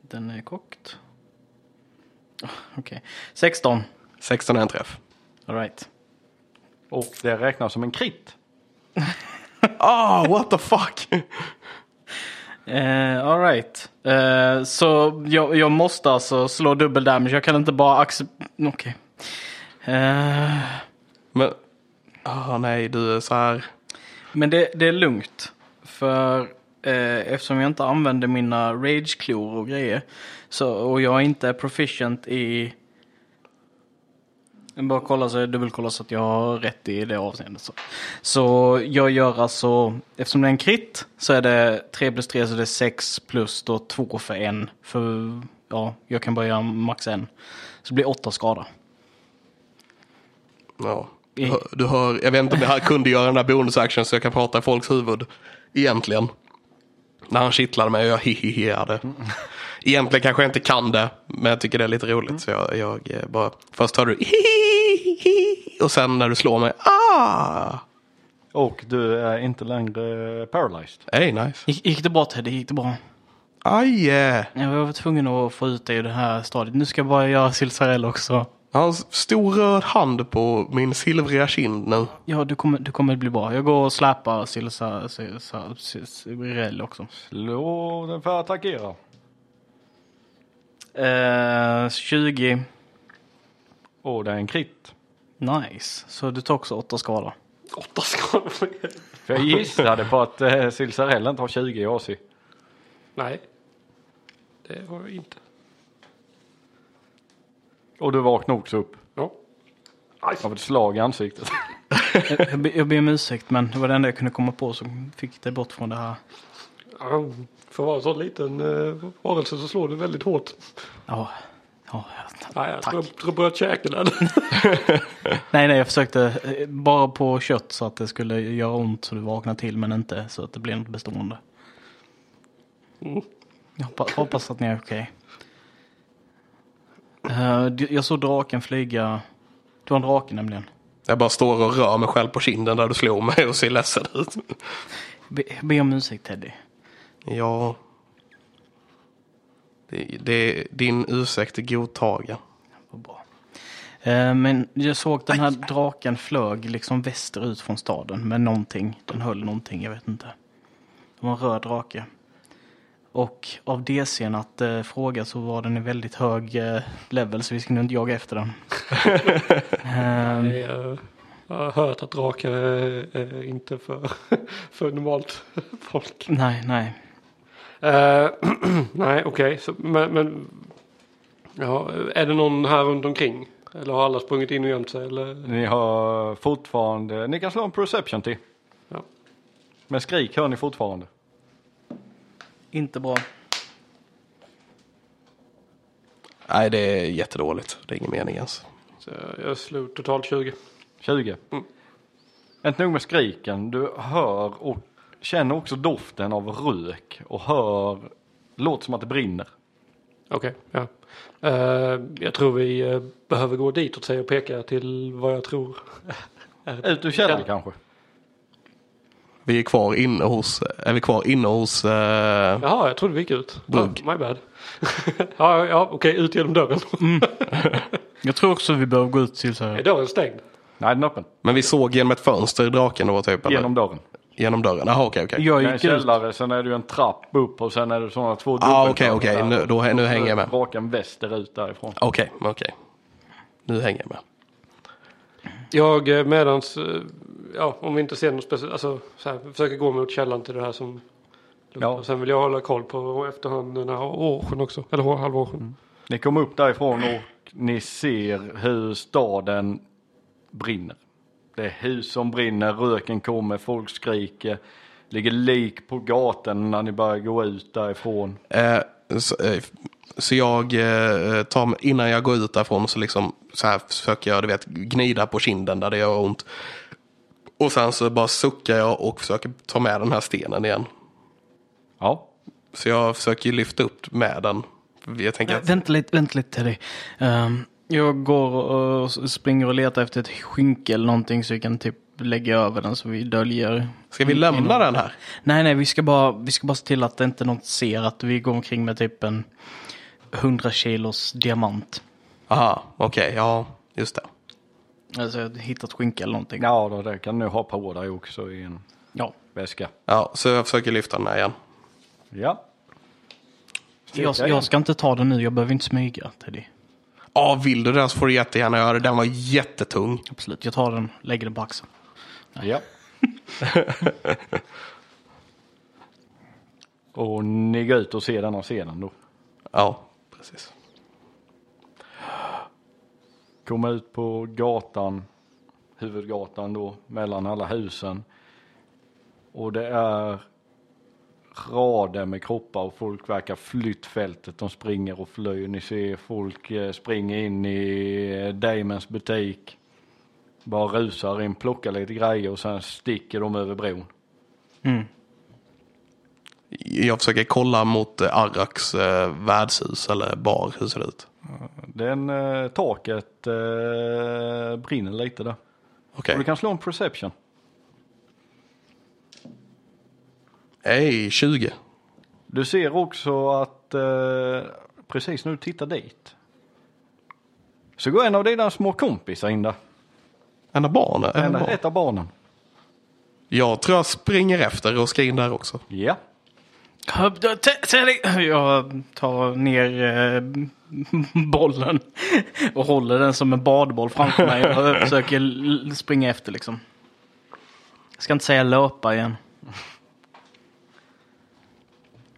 S2: Den är kokt. Ah, Okej. 16.
S1: 16 är en träff.
S2: All right.
S3: Och det räknas som en krit.
S1: Ah, what the fuck.
S2: Eh, all right. Eh, så jag, jag måste alltså slå dubbel damage. Jag kan inte bara acceptera... Okej. Eh,
S1: (laughs) Men, ah nej du är så här.
S2: men det, det är lugnt. För eh, eftersom jag inte använder mina rage-klor och grejer. Så, och jag inte är proficient i... Jag bara kolla så jag dubbelkollar så att jag har rätt i det avseendet. Så, så jag gör alltså, eftersom det är en krit så är det 3 plus 3 så det är 6 plus då 2 för en. För ja, jag kan bara göra max en. Så det blir 8 skada.
S1: Ja.
S2: I,
S1: Du hör, jag vet inte om det här kunde göra den där bonusaction så jag kan prata i folks huvud. Egentligen. När han kittlade mig och jag hihihiade. Egentligen kanske jag inte kan det. Men jag tycker det är lite roligt. Så jag, jag eh, bara, först hör du hihihihi. Och sen när du slår mig, ah!
S3: Och du är inte längre paralyzed.
S1: Hey, nice.
S2: gick, gick det bra Teddy? Gick det bra?
S1: Aj! eh.
S2: Jag var tvungen att få ut dig i det här stadiet. Nu ska jag bara göra silsarell också.
S1: Hans stor röd hand på min silvriga kind nu.
S2: Ja, du kommer, du kommer bli bra. Jag går och släpar silsa- silsa- silsarell också.
S3: Slå den för att attackera.
S2: Eh, 20.
S3: Och det är en krit.
S2: Nice. Så du tar också åtta skada.
S4: Åtta skador.
S3: För jag gissade på att eh, Silsarell inte har 20 i AC.
S4: Nej. Det har jag inte.
S3: Och du vaknar också upp
S4: Ja.
S3: av ett slag i ansiktet.
S2: Jag, jag, be- jag ber om ursäkt, men det var det enda jag kunde komma på som fick dig bort från det här.
S4: Ja, För att vara en sån liten eh, varelse så slår du väldigt hårt.
S2: Ja. ja, jag-
S4: Nej, jag tror, tror jag bröt käken där.
S2: Nej, nej, jag försökte eh, bara på kött så att det skulle göra ont så du vaknar till, men inte så att det blir något bestående. Jag hoppas, hoppas att ni är okej. Eh, d- jag såg draken flyga. Det var en drake nämligen.
S1: Jag bara står och rör mig själv på kinden där du slog mig och ser ledsen ut.
S2: Be, jag ber om ursäkt Teddy.
S1: Ja. Det, det, din ursäkt är godtagen.
S2: Vad bra. Eh, Men jag såg den här draken flög liksom västerut från staden med någonting. Den höll någonting, jag vet inte. Det var en röd drake. Och av DCn att eh, fråga så var den i väldigt hög eh, level så vi skulle inte jaga efter den. Ehm,
S4: Nej, eh, Jag har hört att drakar är är inte för, (laughs) för normalt folk.
S2: nej, nej.
S4: Eh, (clears throat) nej, okej. så- Men, men ja, är det någon här runt omkring? Eller har alla sprungit in och gömt sig? Eller?
S3: Ni har fortfarande... Ni kan slå en perception till.
S4: Ja.
S3: Men skrik hör ni fortfarande.
S2: Inte bra.
S1: Nej, det är jättedåligt. Det är ingen mening ens.
S4: Så jag slog totalt 20.
S3: 20.
S1: Mm.
S3: Inte nog med skriken, du hör och känner också doften av rök och hör... Låter som att det brinner.
S4: Okej, ja. Eh, jag tror vi eh, behöver gå ditåt säger jag och pekar till vad jag tror.
S3: Ut ur källaren
S4: Ja.
S3: kanske.
S1: Vi är kvar inne hos... Är vi kvar inne hos... Eh,
S4: Jaha, jag trodde vi gick ut.
S1: Bugg.
S4: Ah, my bad. (laughs) ja, ja okej, ut genom dörren.
S3: Mm.
S2: Jag tror också vi behöver gå ut till så
S4: är
S2: här.
S4: dörren stängd?
S3: Nej, den är öppen.
S1: men vi såg genom ett fönster draken då, typ? Eller?
S3: Genom dörren.
S1: genom dörren? Jaha, okej, okej.
S2: Jag
S3: Det är en
S2: gick ut.
S3: källare, sen är det ju en trapp upp och sen är det sådana två
S1: Ah,
S3: dubbeltrappor
S1: okej, okej.
S3: där.
S1: Nu, då, nu hänger jag med.
S3: Raken västerut därifrån.
S1: Okej, okej. Nu hänger jag med.
S4: Jag eh, medans, eh, ja om vi inte ser något speciellt, alltså så här, försöker gå mot källan till det här som
S3: Ja.
S4: och Sen vill jag hålla koll på efterhand den här Årsjön också, eller Å- halva Årsjön.
S3: Ni kommer upp därifrån och ni ser hur staden brinner. Det är hus som brinner, röken kommer, folk skriker. Ligger lik på gatan när ni börjar gå ut därifrån.
S1: Eh, så, eh, så jag eh, tar, mig- innan jag går ut därifrån så liksom så här försöker jag du vet, gnida på kinden där det gör ont. Och sen så bara suckar jag och försöker ta med den här stenen igen.
S3: Ja.
S1: Så jag försöker ju lyfta upp med den. Jag tänker
S2: Vä-
S1: att,
S2: Vänta lite, vänta lite Teddy. Ehm, jag går och s- springer och letar efter ett skynke eller någonting så vi kan typ lägga över den så vi döljer.
S1: ska vi lämna den här?
S2: Nej, nej, vi ska bara, vi ska bara se till att inte någon ser att vi går omkring med typ en 100 kilos diamant.
S1: Aha, okej, ja, just det.
S2: Alltså jag har hittat skynke eller någonting.
S3: Ja, då, det kan ni ha på dig också i en
S2: Ja.
S3: väska.
S1: Ja, så jag försöker lyfta den här igen.
S3: Ja.
S2: Jag, jag ska inte ta den nu, jag behöver inte smyga Teddy.
S1: Ja, vill du den så får du jättegärna göra det. Den var jättetung.
S2: Absolut, jag tar den, lägger den på axeln.
S3: (laughs) Ja. och ni går ut och ser denna scenen då.
S1: Ja, precis.
S3: komma ut på gatan, huvudgatan då, mellan alla husen. Och det är rader med kroppar och folk verkar flytt fältet. De springer och flyr. Ni ser folk eh, springa in i eh, Damons butik. Bara rusar in, plockar lite grejer och sen sticker de över bron.
S1: Jag försöker kolla mot eh, Arraks eh, värdshus eller bar. Hur ser det ut?
S3: Den eh, taket eh, brinner lite där.
S1: Okej.
S3: Och du kan slå en perception.
S1: Hej, 20.
S3: Du ser också att eh, precis när du tittar dit så går en av dina små kompisar in där.
S1: En av barnen? En
S3: En,
S1: av barn.
S3: ett av barnen.
S1: Jag tror jag springer efter och ska in där också.
S3: Ja.
S2: Jag tar ner eh, (laughs) bollen och håller den som en badboll framför mig och försöker l- springa efter liksom. Jag ska inte säga löpa igen.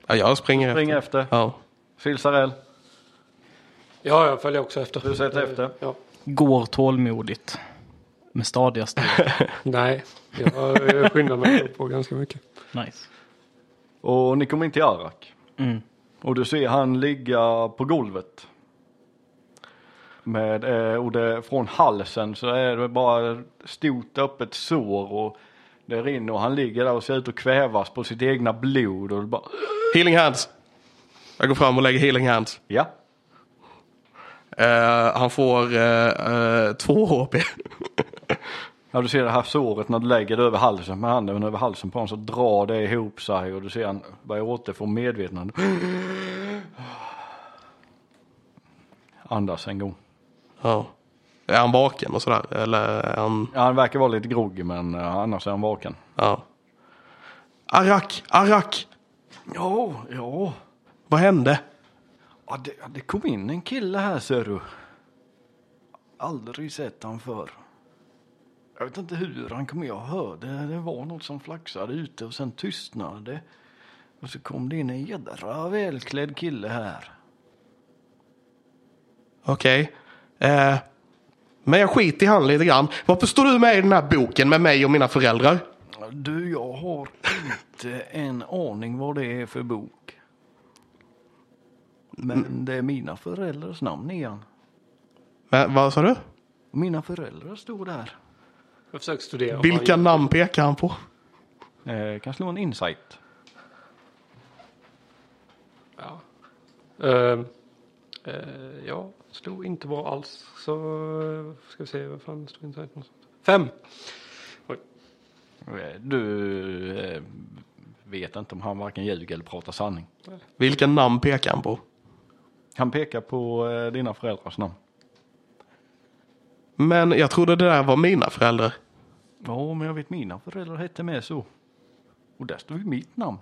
S1: Ja, jag springer,
S3: Spring
S1: efter.
S3: efter.
S1: Ja.
S3: Filsarell,
S4: Ja, jag följer också efter.
S3: du sätter efter.
S4: Ja.
S2: Går tålmodigt. Med stadiga steg.
S4: Nej, jag eh, skyndar mig upp på ganska mycket.
S2: (laughs) Nice.
S3: Och ni kommer in till Arak.
S2: Mm.
S3: Och du ser han ligga på golvet. Med, eh, och det, från halsen så är det bara ett stort öppet sår och det rinner och han ligger där och ser ut att kvävas på sitt egna blod. Och det bara,
S1: Healing hands. Jag går fram och lägger healing hands.
S3: ja,
S1: Eh, han får eh, eh, två HP.
S3: Ja, du ser det här såret när du lägger det över halsen med handen över halsen på honom så drar det ihop sig och du ser han börjar återfå medvetande. (gasps) Andas en gång.
S1: ja. Är han vaken och sådär? Eller är han...
S3: Ja, han verkar vara lite groggy men eh, annars är han vaken.
S1: Ja. Arak! Arak!
S3: Ja, ja.
S1: Vad hände?
S3: ja det, det kom in en kille här ser du. Aldrig sett han förr. Jag vet inte hur han kom in. Jag hörde det var något som flaxade ute och sen tystnade det. Och så kom det in en jädra välklädd kille här.
S1: Okej. Eh, men jag skiter i han lite grann. Varför står du med i den här boken med mig och mina föräldrar?
S3: Du, jag har inte en aning vad det är för bok. Men det är mina föräldrars namn igen.
S1: Men, vad sa du?
S3: Mina föräldrar står där.
S4: Jag försöker studera.
S1: Vilka namn pekar han på?
S3: Eh, kan slå en insight.
S4: Ja. Ehm, eh, ja, slog inte bra alls. Så eh, ska vi se, vad fan stod inte här någonstans? Fem!
S3: Eh, Du eh, vet inte om han varken ljuger eller pratar sanning.
S1: Vilka namn pekar han på?
S3: Han pekar på eh, dina föräldrars namn.
S1: Men jag trodde det där var mina föräldrar.
S3: Ja, men jag vet mina föräldrar hette med så. Och där står ju mitt namn.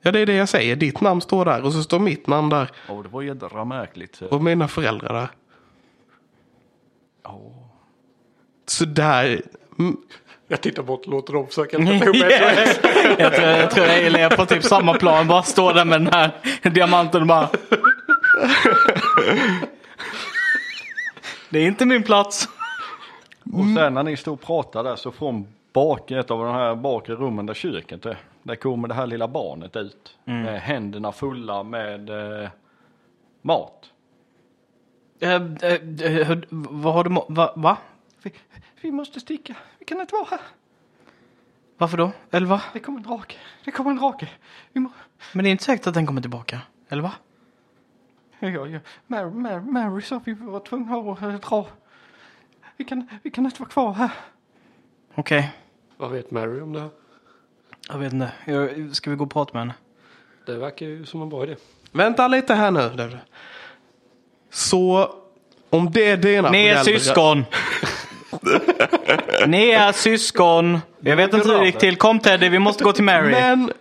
S1: Ja, det är det jag säger. Ditt namn står där och så står mitt namn där
S3: Ja, det var jädra märkligt. så-
S1: och mina föräldrar där.
S3: Ja.
S1: Så där... Mm,
S4: Jag tittar bort och låter dem (laughs) försöka sätta ihop ett.
S2: Jag tror, jag tror jag är på typ samma plan. Bara står där med den här diamanten och bara... Det är inte min plats.
S3: Och sen när ni står och pratar där så från bak, ett av de här bakre rummen där köket är, där kommer det här lilla barnet ut med händerna fulla med eh, mat.
S2: Eh, eh, eh, hur- vad har du... må- Va? va?
S3: Vi, vi måste sticka, vi kan inte vara här.
S2: Varför då? Eller va?
S3: Det kommer en drake, det kommer en drake. Vi må,
S2: Men det är inte säkert att den kommer tillbaka. Eller va?
S3: ja, ja. Mary, Mary, Mary sa att vi var tvungna att eh, dra. Vi kan, vi kan inte vara kvar här.
S2: Okej.
S4: Vad vet Mary om det här?
S2: Jag vet inte. Jag, ska vi gå och prata med henne?
S4: Det verkar ju som en bra idé.
S1: vänta lite här nu. Det- Så om det är dina
S2: Ni är
S1: föräldrar...
S2: syskon! Ni är syskon! Jag vet inte hur det gick till. Kom Teddy, vi måste gå till Mary.
S1: Men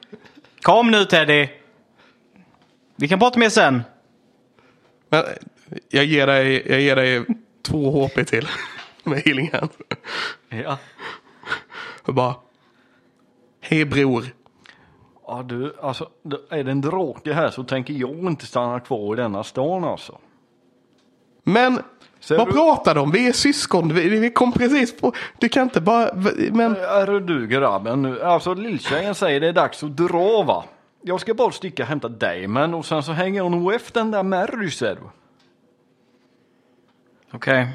S2: Kom nu Teddy! Vi kan prata mer sen.
S1: Men, jag, ger dig, jag ger dig två HP till (laughs) med healing hand.
S3: Ja.
S1: Och bara... Hej bror.
S3: Ja du, alltså är det en drake här så tänker jag inte stanna kvar i denna stan alltså.
S1: Men
S3: Ser
S1: vad
S3: du-
S1: pratar de? Vi är syskon. Vi, vi kom precis på... Du kan inte bara... Men
S3: Är du grabben nu? Alltså lilltjejen säger det är dags att dra va? Jag ska bara sticka och hämta Damon och sen så hänger hon nog efter den där Mary ser du.
S2: Okej.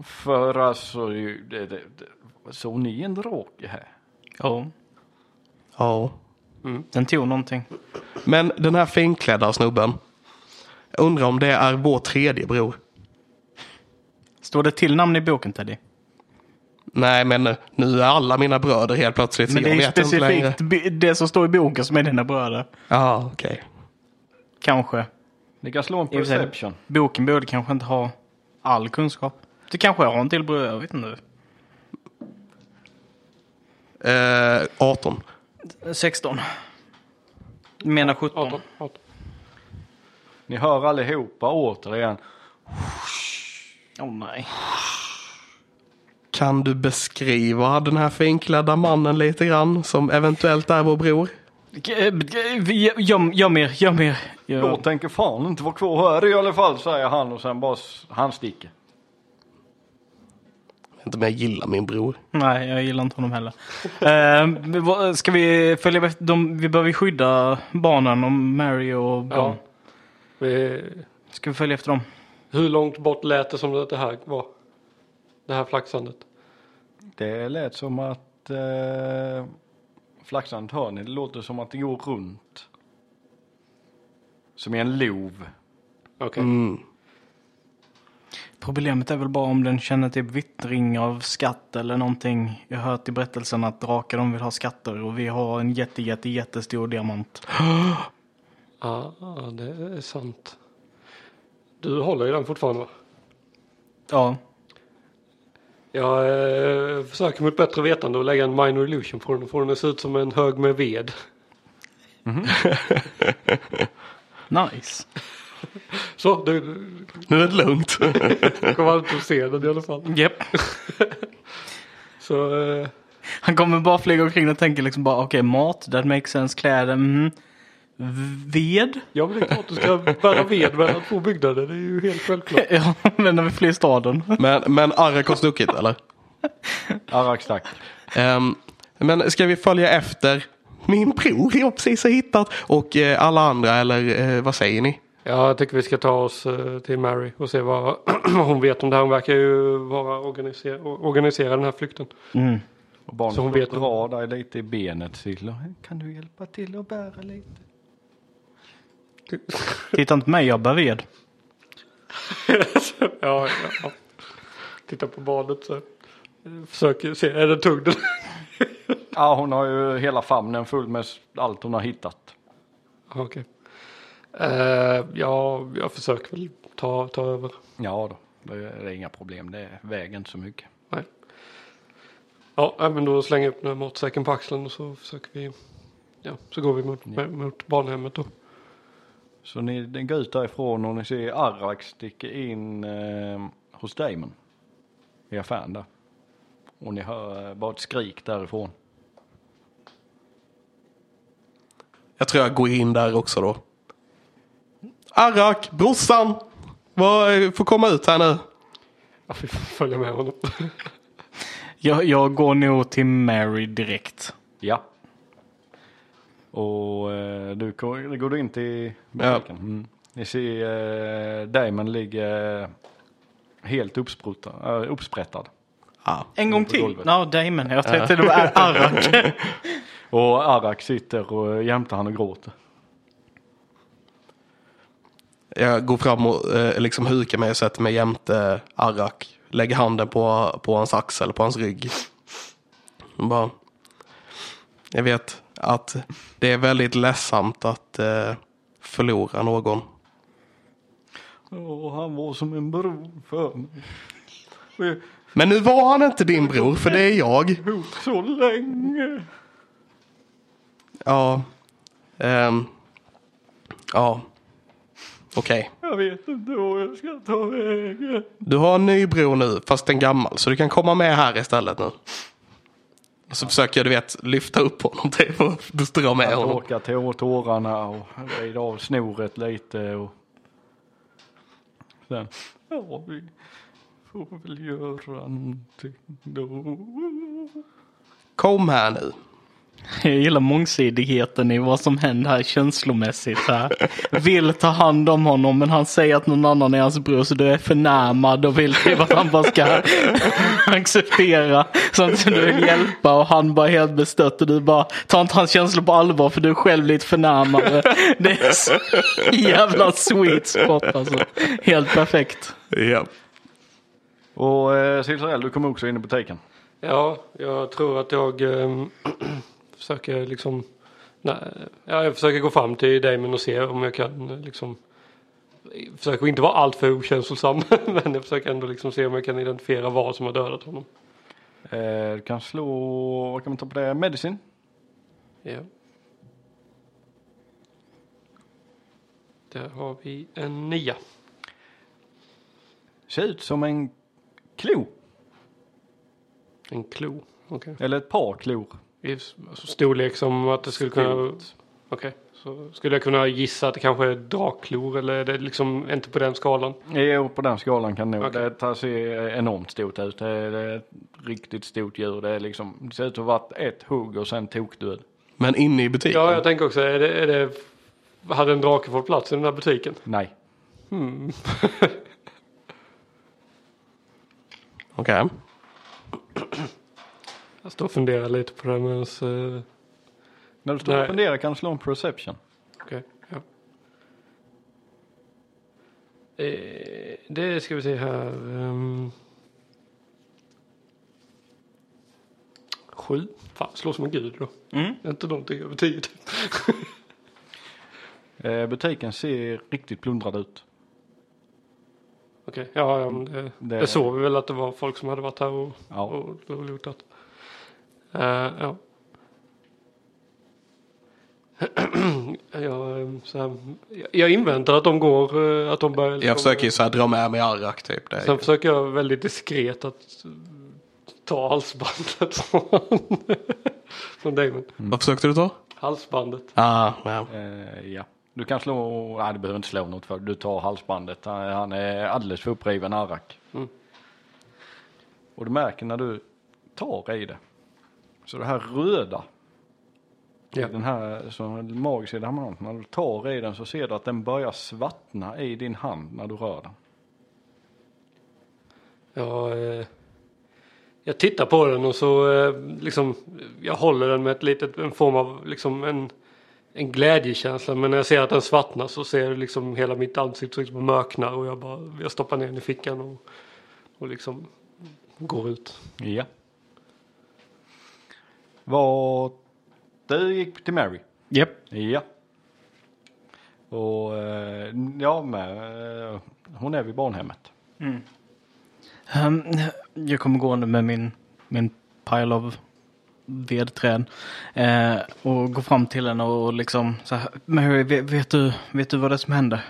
S3: För alltså, det är ju- det, det, det, såg ni en drake här?
S2: Ja,
S1: Ja.
S2: den tog någonting.
S1: Men den här finklädda snubben. Undrar om det är vår tredje bror.
S2: Står det till namn i boken Teddy?
S1: Nej men nu- nu är alla mina bröder helt plötsligt. så
S2: Men det är
S1: jag
S2: ju
S1: vet inte längre.
S2: specifikt bi- det som står i boken som är dina bröder.
S1: Ja, okej.
S2: Kanske.
S3: Ni kan slå en
S2: I och för sig.
S3: perception.
S2: Boken borde kanske inte ha all kunskap. Du kanske har en till bror, jag vet inte.
S1: Eh, 18.
S2: 16. Menar 17.
S4: 18, 18.
S3: Ni hör allihopa återigen.
S2: Åh nej.
S1: Kan du beskriva den här finklädda mannen lite grann som eventuellt är vår bror?
S2: G- g- eh, vi- Gör gör mer, gör mer. Gör-
S3: Jag tänker fan inte vara kvar här i alla fall, säger han och sen bara s- han sticker.
S1: Inte men jag gillar min bror.
S2: Nej, jag gillar inte honom heller. Eh, vad- ska vi följa efter dem? Vi behöver ju skydda barnen och Mary och Don.
S4: Ja. Vi,
S2: Ska vi följa efter dem?
S4: hur långt bort lät det som att det här var? Det här flaxandet?
S3: Det lät som att eh, flaxandet hör ni, det låter som att det går runt. Som i en lov.
S4: Okej.
S1: Mm.
S2: Problemet är väl bara om den känner typ vittring av skatt eller någonting. Jag har hört i berättelsen att drakar de vill ha skatter och vi har en jätte, jätte, jättestor diamant.
S4: Ja, ja, det är sant. Du håller i den fortfarande va?
S2: Ja,
S4: Jag eh, försöker mot bättre vetande att lägga en minor illusion på den och få den att se ut som en hög med ved.
S2: nice.
S4: Så, du du
S1: Nu är det lugnt.
S4: kommer aldrig att se den i alla fall.
S2: Japp.
S4: Så, eh,
S2: Han kommer bara flyga omkring och tänker liksom bara okej mat, that makes sense, kläder, mhm. Ved?
S4: ja men det är klart du ska bära ved mellan två byggnader. Det är ju helt självklart.
S2: (laughs) Ja, men när vi flyr staden.
S1: (laughs) Men, men Arak har stuckit eller?
S3: Arak stack.
S1: Ehm, men ska vi följa efter min bror jag precis har hittat och eh, alla andra eller eh, vad säger ni?
S4: Ja, jag tycker vi ska ta oss eh, till Mary och se vad (clears throat) vad hon vet om det här. Hon verkar ju vara organiser- organisera den här flykten.
S2: Mm.
S3: Och barnet
S4: Så hon
S3: får
S4: vet-
S3: dra dig lite i benet Silla. Kan du hjälpa till att bära lite?
S2: Titta inte på mig, jag bär ved.
S4: ja, (laughs) ja, ja. Titta på barnet så. här. Försöker se, är den tung den?
S3: Ja, hon har ju hela famnen full med s- allt hon har hittat.
S4: (laughs) Okej. Eh, ja, jag försöker väl ta, ta över.
S3: Ja då, det är inga problem. Det väger inte så mycket.
S4: Nej. Ja, nej, men då slänger jag upp den här matsäcken på axeln och så försöker vi. Ja, så går vi mot, mot barnhemmet då.
S3: Så ni den går ut därifrån och ni ser Arak sticka in eh, hos Damon. I affären där. Och ni hör eh, bara ett skrik därifrån.
S1: Jag tror jag går in där också då. Arak, brorsan! Vad, eh, får komma ut här nu.
S4: Ja, vi får följa med honom.
S2: Jag, jag går nog till Mary direkt.
S3: Ja. Och eh, du går, går du in till butiken. Mm. Ni ser eh, Damon ligger eh, helt uppspruttad, eh, uppsprättad.
S1: Ja.
S2: En gång till?
S3: golvet.
S2: Ja, Damon. Jag tänkte (laughs) det var Arak.
S3: Och Arak sitter och jämte han och gråter.
S1: Jag går fram och eh, liksom hukar mig och sätter mig jämte Arak. Lägger handen på, på hans axel, på hans rygg. Och Bara, jag vet att det är väldigt ledsamt att eh, förlora någon.
S3: Åh, han var som en bror för mig. Vi
S1: Men nu var han inte din bror, för det är jag.
S3: bor så länge.
S1: Ja. Ehm. ja. Okej.
S3: Jag vet inte vad jag ska ta vägen.
S1: Du har en ny bror nu, fast en gammal. Så du kan komma med här istället nu. Och så försöker jag, du vet, lyfta upp honom (laughs) typ och dra med
S3: Han
S1: honom.
S3: torkar tå- tårarna och vrider av snoret lite. Och... Sen, ja vi får väl göra någonting då.
S1: Kom här nu.
S2: Jag gillar mångsidigheten i vad som händer här känslomässigt. Så här. Vill ta hand om honom men han säger att någon annan är hans bror så du är förnärmad och vill typ att han bara ska (laughs) acceptera. Sånt som du vill hjälpa och han bara är helt bestört och du bara tar inte hans känslor på allvar för du är själv lite förnärmad. Det är så jävla sweet spot alltså. Helt perfekt.
S1: Ja.
S3: Och eh, Silsarell, du kom också in i butiken.
S4: (laughs) Ja, jag tror att jag ehm, (clears throat) försöker liksom... Nej, ja, jag försöker gå fram till Damon och se om jag kan eh, liksom... Försöker inte vara alltför okänslosam (laughs) men jag försöker ändå liksom se om jag kan identifiera vad som har dödat honom.
S3: Eh, du kan slå, vad kan man ta på det, medicin?
S4: Ja. Där har vi en nia.
S3: Ser ut som en klo,
S4: En klo. Okej.
S3: eller ett par klor.
S4: I s- alltså storlek som att det skulle kunna... Okej. Så skulle jag kunna gissa att det kanske är drakklor eller är det liksom inte på den skalan?
S3: Jo, på den skalan kan det nog.
S4: Okej.
S3: Det här ser enormt stort ut. Det är, det är ett riktigt stort djur. Det, är liksom, det ser ut att ha varit ett hugg och sen tokdöd.
S1: Men inne i butiken?
S4: Ja, jag tänker också, är det, är det, hade en drake fått plats i den här butiken?
S3: Nej.
S1: Okej.
S4: Jag står och funderar lite på det medan... Uh,
S3: När du står och
S4: Nej.
S3: funderar kan du slå en perception.
S4: Okej, ja. Eh, det ska vi se här. ehm. sju. Fan, slå som en gud då.
S2: Mm.
S4: Inte någonting över tio typ.
S3: Eh, butiken ser riktigt plundrad ut.
S4: Okej, ja, ja men det,
S3: Det-
S4: det... det såg vi väl att det var folk som hade varit här och,
S3: Ja.
S4: och, och lootat. Eh, ja. (clears throat) jag, ehm, så här, jag- jag inväntar att de går, eh, att de börjar... liksom-
S1: Jag försöker ju så här dra med mig Arrak typ. Det är
S4: Sen
S1: ju...
S4: försöker jag väldigt diskret att eh, ta halsbandet (laughs) från, från Damon.
S1: Vad försökte du ta?
S4: Halsbandet.
S1: Ah, ja.
S3: Eh, ja. Du kan slå, nej du behöver inte slå något för det. Du tar halsbandet. Han, han är alldeles för uppriven arrak.
S4: Mm.
S3: Och du märker när du tar i det. Så det här röda.
S4: Ja.
S3: Den här som är magisk i diamanten. När du tar i den så ser du att den börjar svartna i din hand när du rör den.
S4: Jag, eh, jag tittar på den och så eh, liksom, jag håller den med ett litet, en form av liksom en, en glädjekänsla. Men när jag ser att den svartnar så ser jag liksom hela mitt ansikte liksom mörknar och jag bara, jag stoppar ner den i fickan och, och liksom går ut.
S3: Ja. Vad... Du gick till Mary.
S2: Japp.
S3: Ja. Och eh, jag med. eh, Hon är vid barnhemmet.
S2: Ehm, jag kommer gående med min, min pile of vedträd eh, och går fram till henne och liksom så här, Mary, vet, vet, du, vet du vad det är som händer?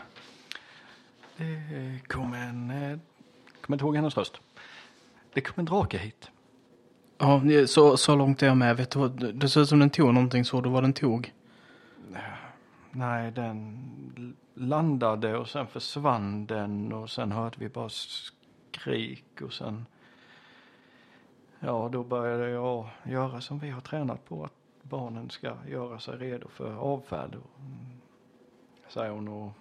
S3: Det kom en... eh, Kommer inte ihåg hennes röst. Det kom en drake hit.
S2: Ja, så, så långt är jag med. Vet du, vad- det ser ut som den tog någonting, såg du vad den tog?
S3: Nej, den l- landade och sen försvann den och sen hörde vi bara skrik och sen... Ja, då började jag göra som vi har tränat på att barnen ska göra sig redo för avfärd. Och, mm, säger hon och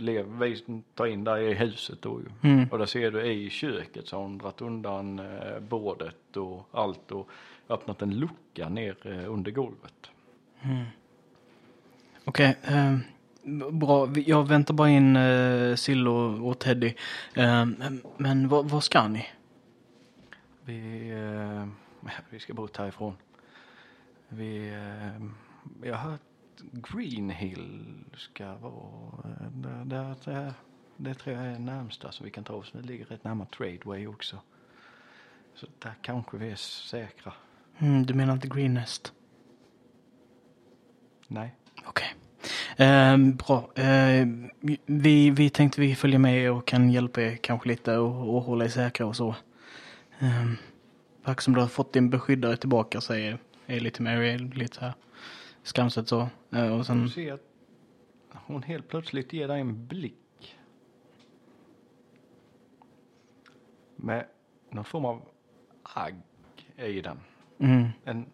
S3: lev- vi tar in där i huset då ju.
S2: Mm.
S3: Och där ser du i köket så har hon dragit undan eh, bordet och allt och öppnat en lucka ner eh, under golvet.
S2: Okej, ehm, bra. Vi- Jag väntar bara in eh, Sill och, och Teddy. Ehm, men vad, vad ska ni?
S3: Vi, eh, (laughs) vi ska bort härifrån. Vi, eh, jag har hört Green Hill ska vara... eh, Där, där, där, det tror jag är närmsta som vi kan ta oss. Det ligger rätt närmare Tradeway också. Så där kanske vi är säkra.
S2: Mm, du menar inte Green Nest?
S3: Nej.
S2: Okej. Ehm, bra. Ehm, vi, vi tänkte vi följer med er och kan hjälpa er kanske lite och, och hålla er säkra och så. Um, verkar som du har fått din beskyddare tillbaka säger är lite Mary, lite så här skamset så. Eh, och
S3: Du
S2: sen,
S3: ser att hon helt plötsligt ger dig en blick. Med någon form av agg i den.
S2: mm,
S3: En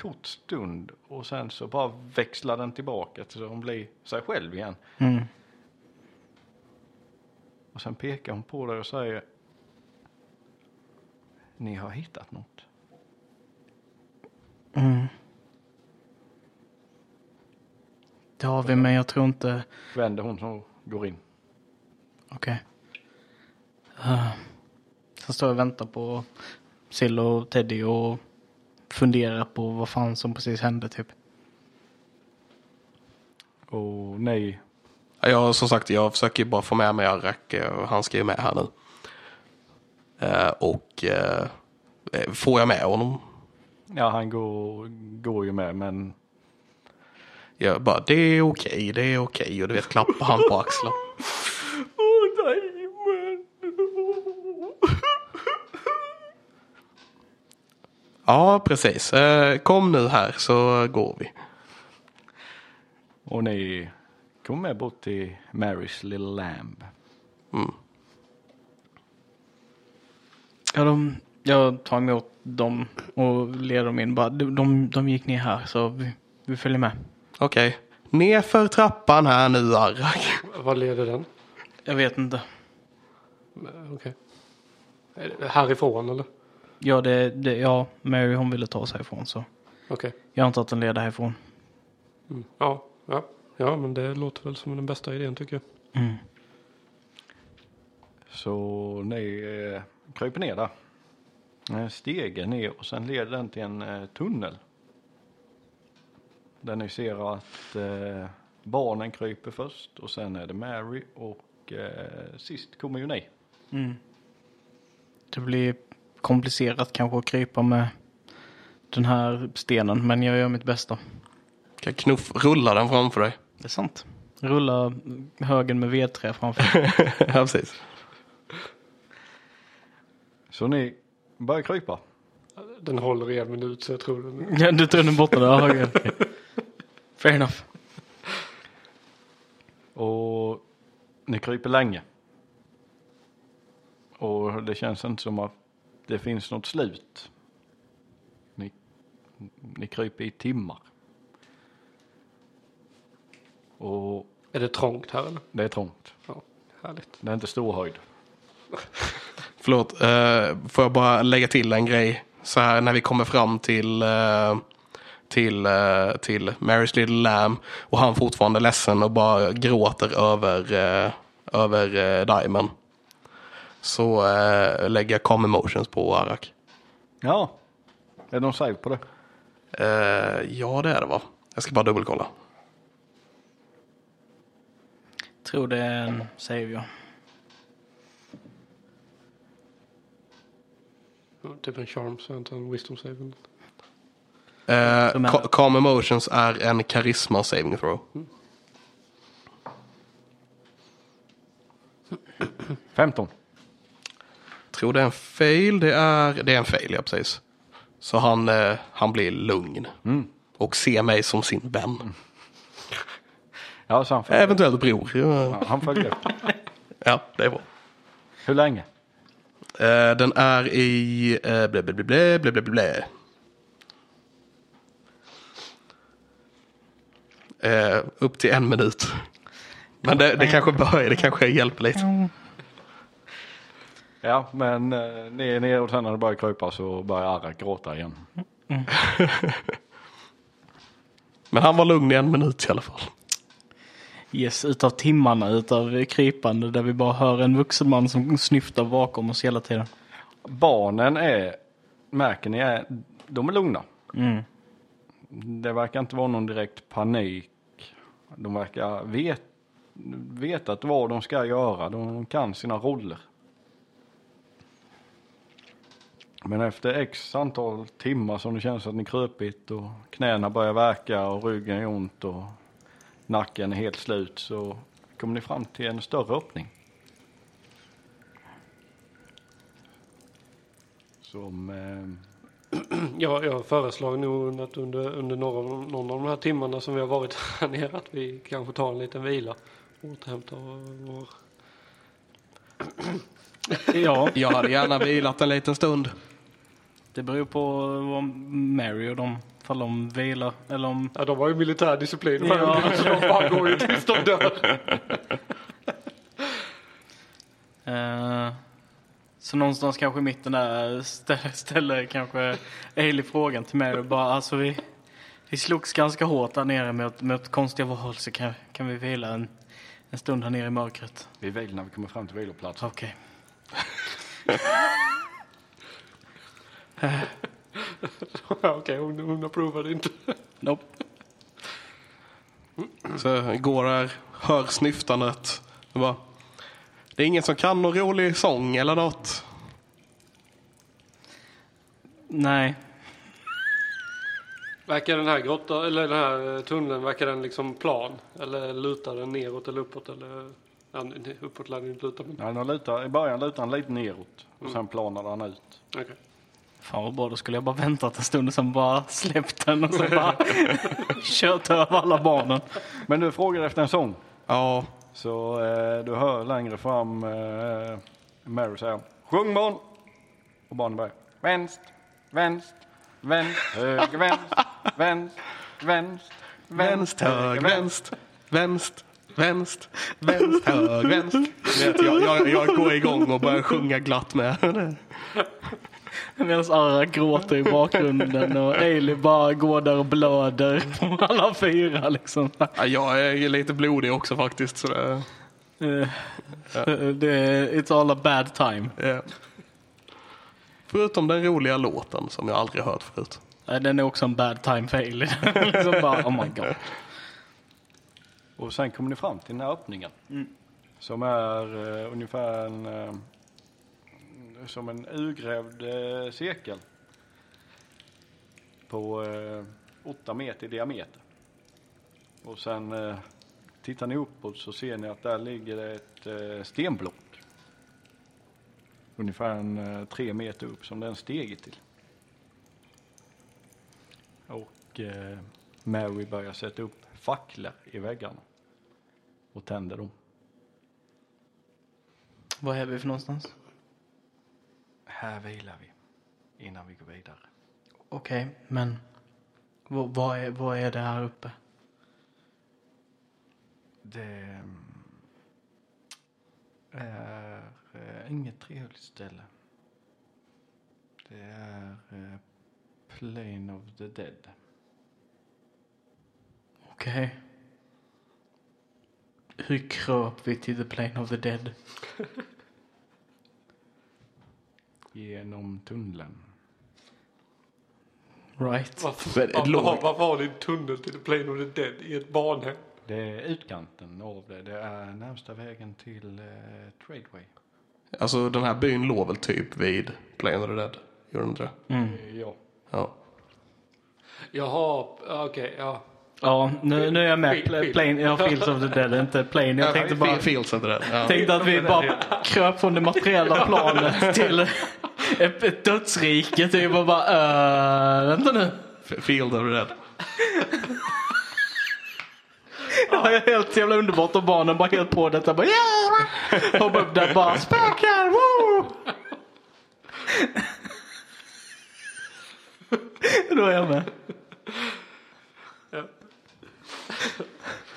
S3: kort stund och sen så bara växlar den tillbaka till hon blir sig själv igen.
S2: Mm.
S3: Och sen pekar hon på dig och säger Ni har hittat något.
S2: Det har vi, men jag tror inte...
S3: Vänder hon och går in.
S2: Okej. Eh, sen står jag och väntar på Sill och Teddy och funderar på vad fan som precis hände typ.
S3: Och nej.
S1: Jag, som sagt, jag försöker ju bara få med mig Arak. eh, Han ska ju med här nu. Eh, och eh, eh, får jag med honom?
S3: Ja han går, går ju med men
S1: Jag bara, det är okej, det är okej. Och du vet, klappar han på axeln. (laughs) Ja, precis. Eh, kom nu här så går vi.
S3: och ni kommer med bort till Marys Little Lamb.
S2: Ja, de, jag tar emot dem och leder dem in. Bara, de, de, de gick ner här så vi, vi följer med.
S1: Okej. Nerför trappan här nu, Arrak.
S4: Vad leder den?
S2: Jag vet inte.
S4: Eh, Okej. Är det Härifrån eller?
S2: Ja, det, det, ja Mary hon ville ta sig härifrån så
S4: Okej.
S2: jag antar att den leder härifrån.
S4: Mm. Ja, ja. ja, men det låter väl som den bästa idén tycker jag.
S2: Mm.
S3: Så ni eh, kryper ner där. En stege ner och sen leder den till en eh, tunnel. Där ni ser att eh, barnen kryper först och sen är det Mary och eh, sist kommer ju ni.
S2: Mm. Det blir komplicerat kanske att krypa med den här stenen men jag gör mitt bästa.
S1: Kan knuff rulla den framför dig. (laughs)
S2: Det är sant. Rulla högen med vedträ framför. (laughs)
S1: ja, precis.
S3: Så ni börjar krypa.
S4: Den håller i en minut så jag tror den...
S2: Ja, du tror den är borta där högen. Fair enough.
S3: Och ni kryper länge. Och det känns inte som att det finns något slut. Ni, ni kryper i timmar. Och
S4: Är det trångt här eller?
S3: det är trångt.
S4: Ja, härligt.
S3: Det är inte stor höjd.
S1: Förlåt, eh, får jag bara lägga till en grej? Så här när vi kommer fram till, eh, till, eh, till Mary's Little Lamb och han fortfarande är ledsen och bara gråter över, eh, över eh, Diamond. Så eh, lägger jag calm emotions på Arak.
S3: Ja, är det någon save på det?
S1: Eh, ja, det är det va? Jag ska bara dubbelkolla.
S2: Tror det är en savior.
S4: Ja, Typ en charm så jag antar en wisdom saving.
S1: Eh,
S2: Som är-
S1: ca- calm emotions är en karisma saving throw.
S3: 15.
S1: Tror det är en fail. Det är, det är en fail, ja precis. Så han, eh, han blir lugn. Och ser mig som sin vän.
S3: Ja, så han följer.
S1: Eventuellt bror. Ja,
S3: Ja, han följer.
S1: ja det är bra.
S3: Hur länge?
S1: Eh, den är i... Eh, blä, blä, blä, blä, blä, blä, blä. Eh, upp till en minut. Men det, det kanske börjar, det kanske hjälper lite.
S3: Ja, men eh, ni är nere och sen när det börjar krypa så börjar Arak gråta igen.
S1: Men han var lugn i en minut i alla fall.
S2: Yes, utav timmarna, utav krypande där vi bara hör en vuxen man som snyftar bakom oss hela tiden.
S3: Barnen är, märker ni, är, de är lugna. Det verkar inte vara någon direkt panik. De verkar vet, veta att vad de ska göra. De, de kan sina roller. Men efter x antal timmar som det känns att ni kröpit och knäna börjar verka och ryggen är ont och nacken är helt slut så kommer ni fram till en större öppning. Som eh,
S4: Ja, Mm, jag föreslår nog att under, under någon, någon av de här timmarna som vi har varit (laughs) här nere att vi kanske tar en liten vila. Återhämtar vår...
S2: Ja,
S1: Jag hade gärna vilat en liten stund.
S2: Det beror på vad Mary och dem, ifall de vilar eller om...
S4: Ja, de har ju militär disciplin.
S2: Ja.
S4: Men (laughs) de bara går ju tills de dör.
S2: Eh, så någonstans kanske i mitten där ställer, ställer kanske Ailey frågan till mig och bara alltså vi, vi slogs ganska hårt där nere mot, mot konstiga val så kan, kan vi vila en, en stund här nere i mörkret.
S3: Vi vilar när vi kommer fram till viloplatsen.
S2: Okej.
S4: (laughs) Ja, Okej, hon, hon approvade inte.
S2: Nope.
S1: Så går där, hör snyftandet. Jag Bara, det är ingen som kan någon rolig sång eller något.
S2: Nej.
S4: Verkar den här grottan, eller den här eh, tunneln, verkar den liksom plan? Eller lutar den neråt eller uppåt? Eller, ja, nu- uppåt lär den inte luta. Men,
S3: Nej, den lutar, I början lutar han lite neråt och sen planar han ut.
S4: okej.
S2: Fan vad bra, då skulle jag bara väntat en stund och sen bara släppt den och sen bara (laughs) kört över alla barnen.
S3: Men du frågar efter en sång.
S1: Ja,
S3: Så eh, du hör längre fram eh, Mary säga Sjung barn! Och barnen börjar Vänst, vänst, vänst, höger, vänst, vänst, vänst,
S1: vänst, hög, vänst, vänst, vänst, vänst, hög, vänst. Du Vet, jag, jag, jag går igång och börjar sjunga glatt med.
S2: Medan Arra gråter i bakgrunden och Ailey bara går där och blöder på alla fyra liksom.
S1: Ja, jag är lite blodig också faktiskt. Så det,
S2: Eh, Det är, it's all a bad time.
S1: ja. Förutom den roliga låten som jag aldrig hört förut.
S2: Eh, Den är också en bad time för Ailey. (laughs) liksom bara, oh my god.
S3: Och sen kommer ni fram till den här öppningen. Som är eh, ungefär en, eh, som en urgrävd eh, cirkel. På eh, åtta meter i diameter. Och sen eh, tittar ni uppåt så ser ni att där ligger det ett eh, stenblock. Ungefär en, eh, tre meter upp som den stege till. Och eh, Mary börjar sätta upp facklor i väggarna och tänder dem.
S2: Var är vi för någonstans?
S3: Här vilar vi innan vi går vidare.
S2: Okej, men vad, vad, är, vad är det här uppe?
S3: Det är eh, inget trevligt ställe. Det är eh, Plain of the Dead.
S2: Okej. Hur kröp vi till the plane of the dead?
S3: Genom tunneln.
S2: Right.
S4: Varför,
S1: Men,
S4: varför,
S1: låg-
S4: har- varför har ni en tunnel till The Plane of the Dead i ett barnhem?
S3: Det är utkanten av det. Det är närmsta vägen till eh, Tradeway.
S1: Alltså den här byn låg väl typ vid Plain of the Dead? Gjorde den inte det?
S3: Ja.
S1: Ja.
S4: Jaha, ja, okej, ja.
S2: Ja, nu, nu är jag med. Pla- Plane, ja, Fields of the Dead, inte plane. Jag tänkte bara...
S1: Fields heter det. Ja.
S2: Tänkte att vi bara kröp från det
S1: (laughs)
S2: materiella planet till ett, ett dödsrike typ och bara äh, vänta nu.
S1: F- Field of the Dead.
S2: Ja, jag är helt jävla underbart och barnen bara helt på detta bara yeah! Hoppa upp där bara spöken, woo! (laughs) Då är jag med.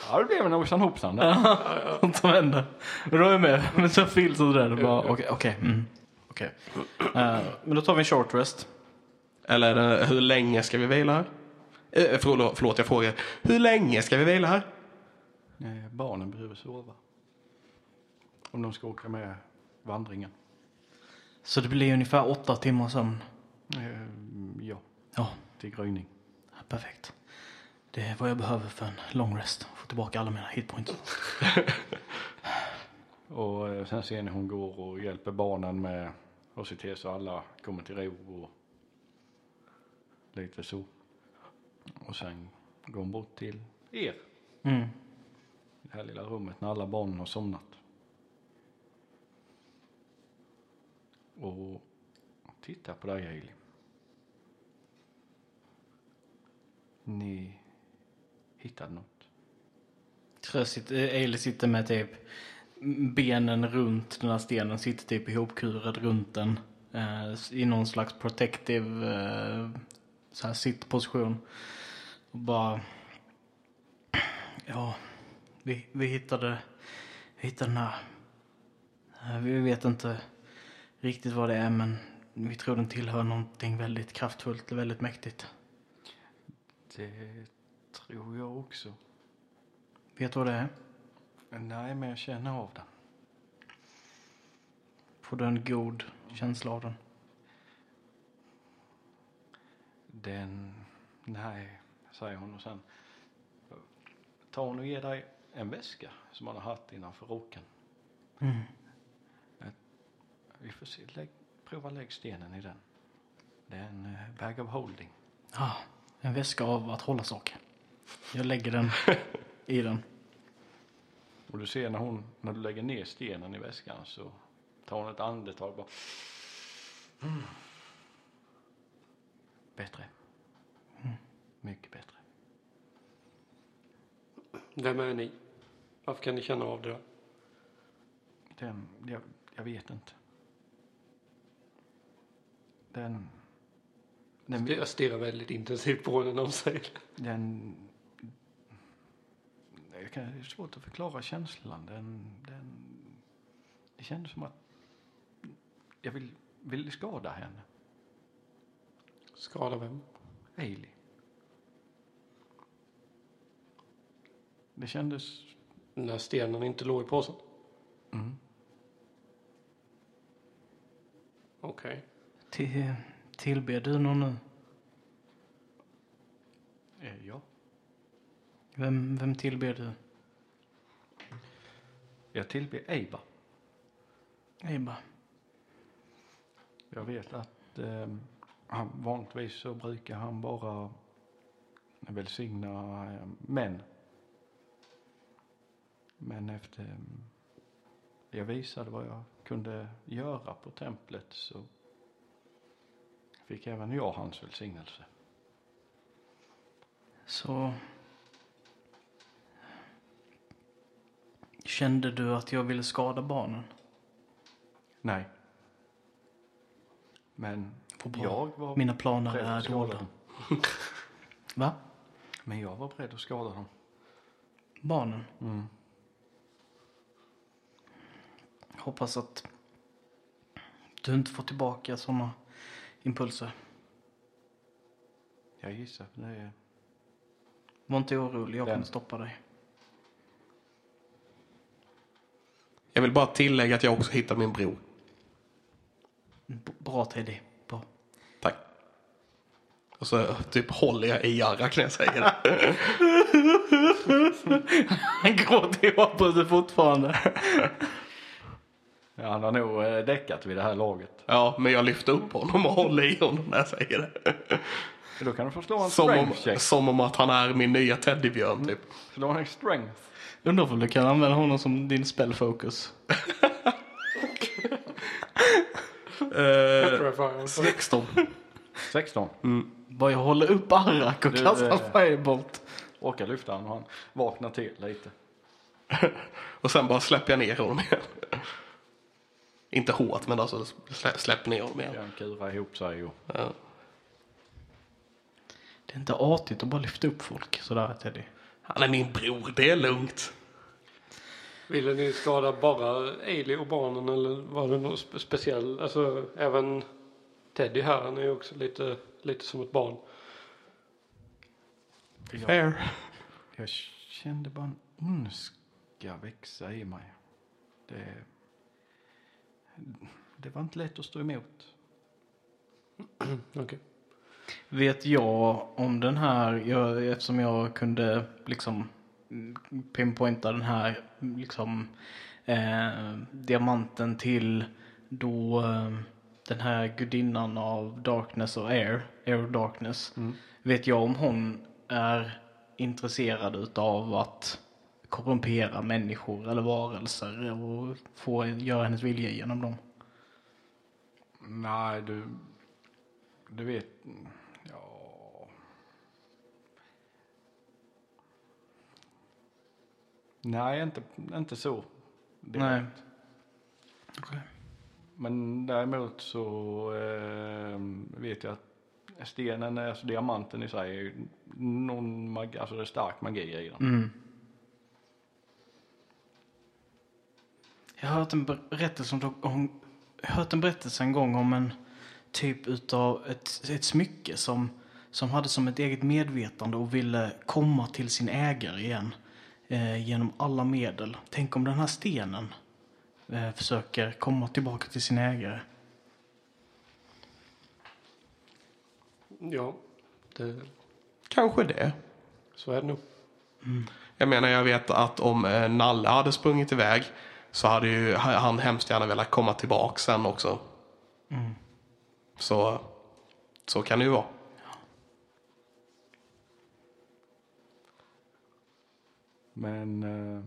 S3: Ja, det blev en Ojsan hoppsan där.
S2: Sånt som händer. Men då är jag med. Men så Fields of the Dead bara okej, okej. mm, okej. Eh, men då tar vi en short rest.
S1: Eller är det, hur länge ska vi vila här? Eh, förlåt, förlåt, jag frågar. Hur länge ska vi vila här?
S3: Eh, Barnen behöver sova. Om de ska åka med vandringen.
S2: Så det blir ungefär åtta timmar sömn.
S3: Eh, Ja,
S2: Ja.
S3: till gryning.
S2: Ja, Perfekt. Det är vad jag behöver för en long rest. Få tillbaka alla mina hitpoints.
S3: Och eh, sen ser ni hon går och hjälper barnen med att se till så alla kommer till ro och lite så. Och sen går hon bort till er.
S2: Mm.
S3: Det här lilla rummet när alla barnen har somnat. Och titta på dig Hailey. Ni hittade något.
S2: Tröstigt. Ailey Eh, sitter med typ benen runt den här stenen. Sitter typ ihopkurad runt den. eh, i någon slags protective eh, så här sittposition. Och bara... Ja, vi, vi hittade, vi hittade den här. Eh, Vi vet inte riktigt vad det är men vi tror den tillhör någonting väldigt kraftfullt och väldigt mäktigt.
S3: Det tror jag också.
S2: Vet du vad det är?
S3: Nej, men jag känner av den.
S2: Får du en god känsla av den?
S3: Den... Nej, säger hon och sen tar hon och ger dig en väska som han har haft innanför rocken.
S2: Mm.
S3: Vi får se, lägg, prova lägg stenen i den. Det är en eh, bag of holding.
S2: Ja, Ah, en väska av att hålla saker. Jag lägger den i den.
S3: Och du ser när hon, när du lägger ner stenen i väskan så tar hon ett andetag och bara. Mm. Bättre. Mycket bättre.
S4: Vem är ni? Varför kan ni känna av det där?
S3: Den, jag, jag vet inte. Den, den,
S4: Jag stirrar väldigt intensivt på henne när hon säger det.
S3: den, det kan- det är svårt att förklara känslan. Den, den, det kändes som att jag vill, ville skada henne.
S4: Skada vem?
S3: Ailey. Det kändes...
S4: När stenen inte låg i påsen?
S3: Mm.
S4: Okej.
S2: Till, tillber du någon nu?
S3: Eh, ja.
S2: Vem, vem tillber du?
S3: Jag tillber Eiba.
S2: Ebba.
S3: Jag vet att eh, han, vanligtvis så brukar han bara välsigna eh, män. Men efter eh, jag visade vad jag kunde göra på templet så fick även jag hans välsignelse.
S2: Så... Kände du att jag ville skada barnen?
S3: Nej. Men
S2: Vad bra.
S3: jag var
S2: Mina planer
S3: beredd att
S2: är
S3: skada
S2: dolda.
S3: dem.
S2: Va?
S3: Men jag var beredd att skada dem.
S2: Barnen?
S3: Mm.
S2: Hoppas att du inte får tillbaka såna impulser.
S3: Jag gissar att det är...
S2: Var inte orolig, jag
S3: Den.
S2: kommer stoppa dig.
S1: Jag vill bara tillägga att jag också hittade min bror.
S2: B- bra Teddy. Bra. (laughs)
S1: Tack. Och så typ håller jag i Jarak när jag säger
S2: (laughs)
S1: det.
S2: Han gråter ju avbrutet fortfarande.
S3: Ja, han har nog eh, däckat vid det här laget.
S1: Ja, men jag lyfter upp honom och håller i honom när jag säger det.
S3: Då kan du få slå en
S2: Alltså,
S1: Som om,
S3: strength check.
S1: som om att han är min nya teddybjörn typ.
S3: Slå en strength.
S2: Undrar om du kan använda honom som din spellfocus.
S1: Eh,
S4: Okay.
S1: 16.
S3: 16.
S2: Bara jag håller upp Arak och
S3: Du,
S2: kastar
S3: eh,
S2: firebolt.
S3: Orkar lyfta han och han vaknar till lite.
S1: Och sen bara släpper jag ner honom igen. (laughs) Inte hårt, men alltså slä, släpp ner honom igen.
S3: Han kurar ihop sig och...
S1: Ja.
S2: Det är inte artigt att bara lyfta upp folk sådär Teddy.
S1: Han är min bror, det är lugnt.
S4: Ville ni skada bara Ailey och barnen eller var det något spe- speciell? Alltså även Teddy här, han är ju också lite, lite som ett barn.
S1: Fair.
S3: Jag kände bara en ondska växa i mig. Det... Det var inte lätt att stå emot.
S4: Okej.
S2: Vet jag om den här, jag, eftersom jag kunde liksom mm, pinpointa den här liksom eh, diamanten till då eh, den här gudinnan av darkness och air, air of darkness. Vet jag om hon är intresserad utav att korrumpera människor eller varelser och få göra hennes vilja genom dem?
S3: Nej, du... Du vet... Ja... Nej, inte, inte så. direkt.
S2: Nej.
S3: Men däremot så eh, vet jag att stenen, alltså diamanten i sig, är ju någon magi, alltså det är stark magi i den.
S2: Jag har hört en berättelse, om, om, jag har hört en, berättelse en gång om en typ utav ett, ett smycke som, som hade som ett eget medvetande och ville komma till sin ägare igen eh, genom alla medel. Tänk om den här stenen eh, försöker komma tillbaka till sin ägare.
S4: Ja, det,
S1: Kanske det.
S4: så är det nog.
S1: Jag menar, jag vet att om eh, Nalle hade sprungit iväg så hade ju ha- han hemskt gärna velat komma tillbaka sen också.
S2: Mm.
S1: Så, så kan det ju vara.
S3: Men... Eh,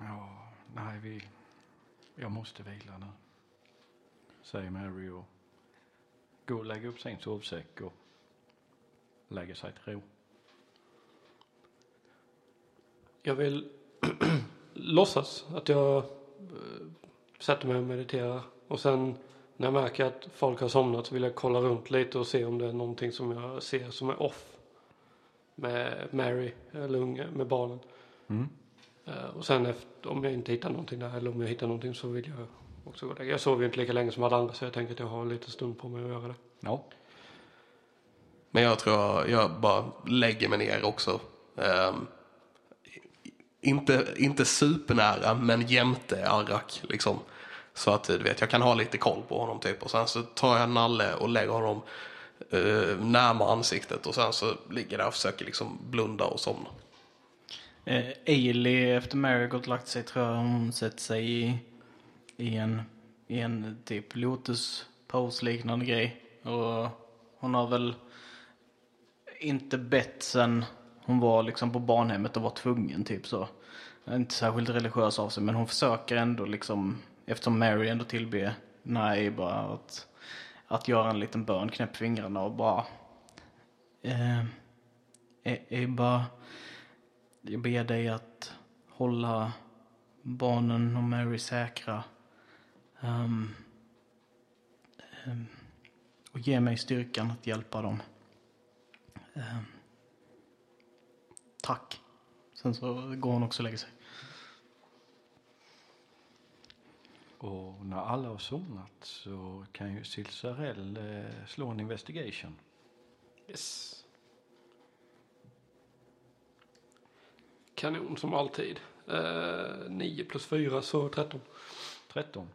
S3: ja, nej, vi... Jag måste vila nu. Säger Mary och går och lägger upp sin sovsäck och lägger sig till ro.
S4: Jag vill (clears throat) låtsas att jag eh, sätter mig och mediterar. Och sen när jag märker att folk har somnat så vill jag kolla runt lite och se om det är någonting som jag ser som är off. Med Mary eller unge, med barnen. Eh, Och sen efter, om jag inte hittar någonting där eller om jag hittar någonting så vill jag också gå och lägga. Jag sover ju inte lika länge som alla andra så jag tänker att jag har lite stund på mig att göra det.
S3: Ja,
S1: Men jag tror jag bara lägger mig ner också. Ehm, inte, inte supernära, men jämte Arrak. Liksom. Så att du vet, jag kan ha lite koll på honom typ. Och sen så tar jag Nalle och lägger honom eh, närmare ansiktet. Och sen så ligger jag där och försöker liksom blunda och somna.
S2: Eh, Ailey, efter Mary gått och lagt sig, tror jag hon sätter sig i, i, en, i en typ lotus pose liknande grej. Och hon har väl inte bett sen hon var liksom på barnhemmet och var tvungen typ så. Inte särskilt religiös av sig men hon försöker ändå liksom, eftersom Mary ändå tillber nej bara att, att göra en liten bön, knäpp fingrarna och bara eh, eh, eh, bara jag ber dig att hålla barnen och Mary säkra. Ehm, ehm, och ge mig styrkan att hjälpa dem. Ehm, tack. Sen så går hon också och lägger sig.
S3: och när alla har somnat så kan ju Silsarell eh, slå en investigation.
S4: Yes. Kanon som alltid. Eh, 9 plus 4 så 13.
S3: 13.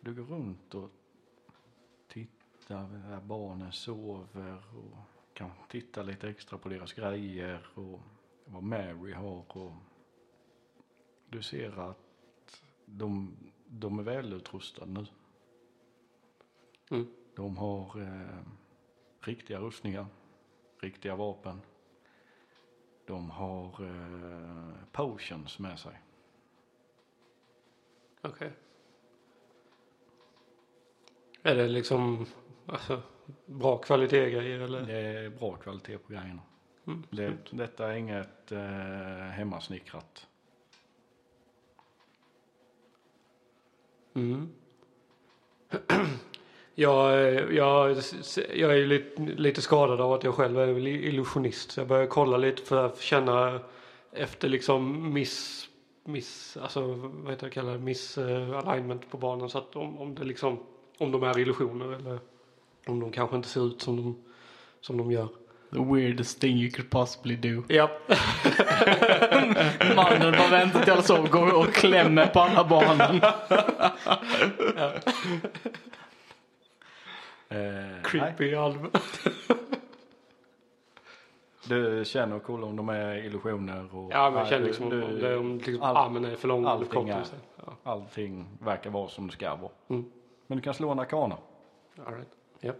S3: Du går runt och tittar, där barnen sover och kan titta lite extra på deras grejer och vad Mary har. Och du ser att de, de är välutrustade nu.
S4: Mm.
S3: De har eh, riktiga rustningar, riktiga vapen. De har eh, potions med sig.
S4: Okej. Är det liksom alltså, bra kvalitet grejer eller?
S3: Det är bra kvalitet på grejerna.
S4: Mm.
S3: Det, detta är inget eh, hemmasnickrat.
S4: Mm. (clears throat) jag, eh, jag, jag är ju lite, lite skadad av att jag själv är väl illusionist. Så jag börjar kolla lite för att känna efter liksom miss, miss alltså vad heter det kallar miss eh, alignment på barnen. Så att om, om det liksom, om de är illusioner eller om de kanske inte ser ut som de, som de gör.
S2: The weirdest thing you could possibly do.
S4: Ja, (laughs)
S2: Mannen bara väntar till alla sover, går och klämmer på alla (laughs) barnen.
S3: Eh, nej.
S4: creepy alv.
S3: Du känner och kollar om de är illusioner. Och,
S4: Ja, men jag
S3: Nej,
S4: känner
S3: du-
S4: liksom om,
S3: du-
S4: om, det, om liksom,
S3: all-
S4: armen är för lång eller
S3: allting
S4: kort.
S3: är-
S4: och så. Ja,
S3: Allting verkar vara som det ska vara.
S4: Mm.
S3: Men du kan slå en arkana.
S4: all right. Ja.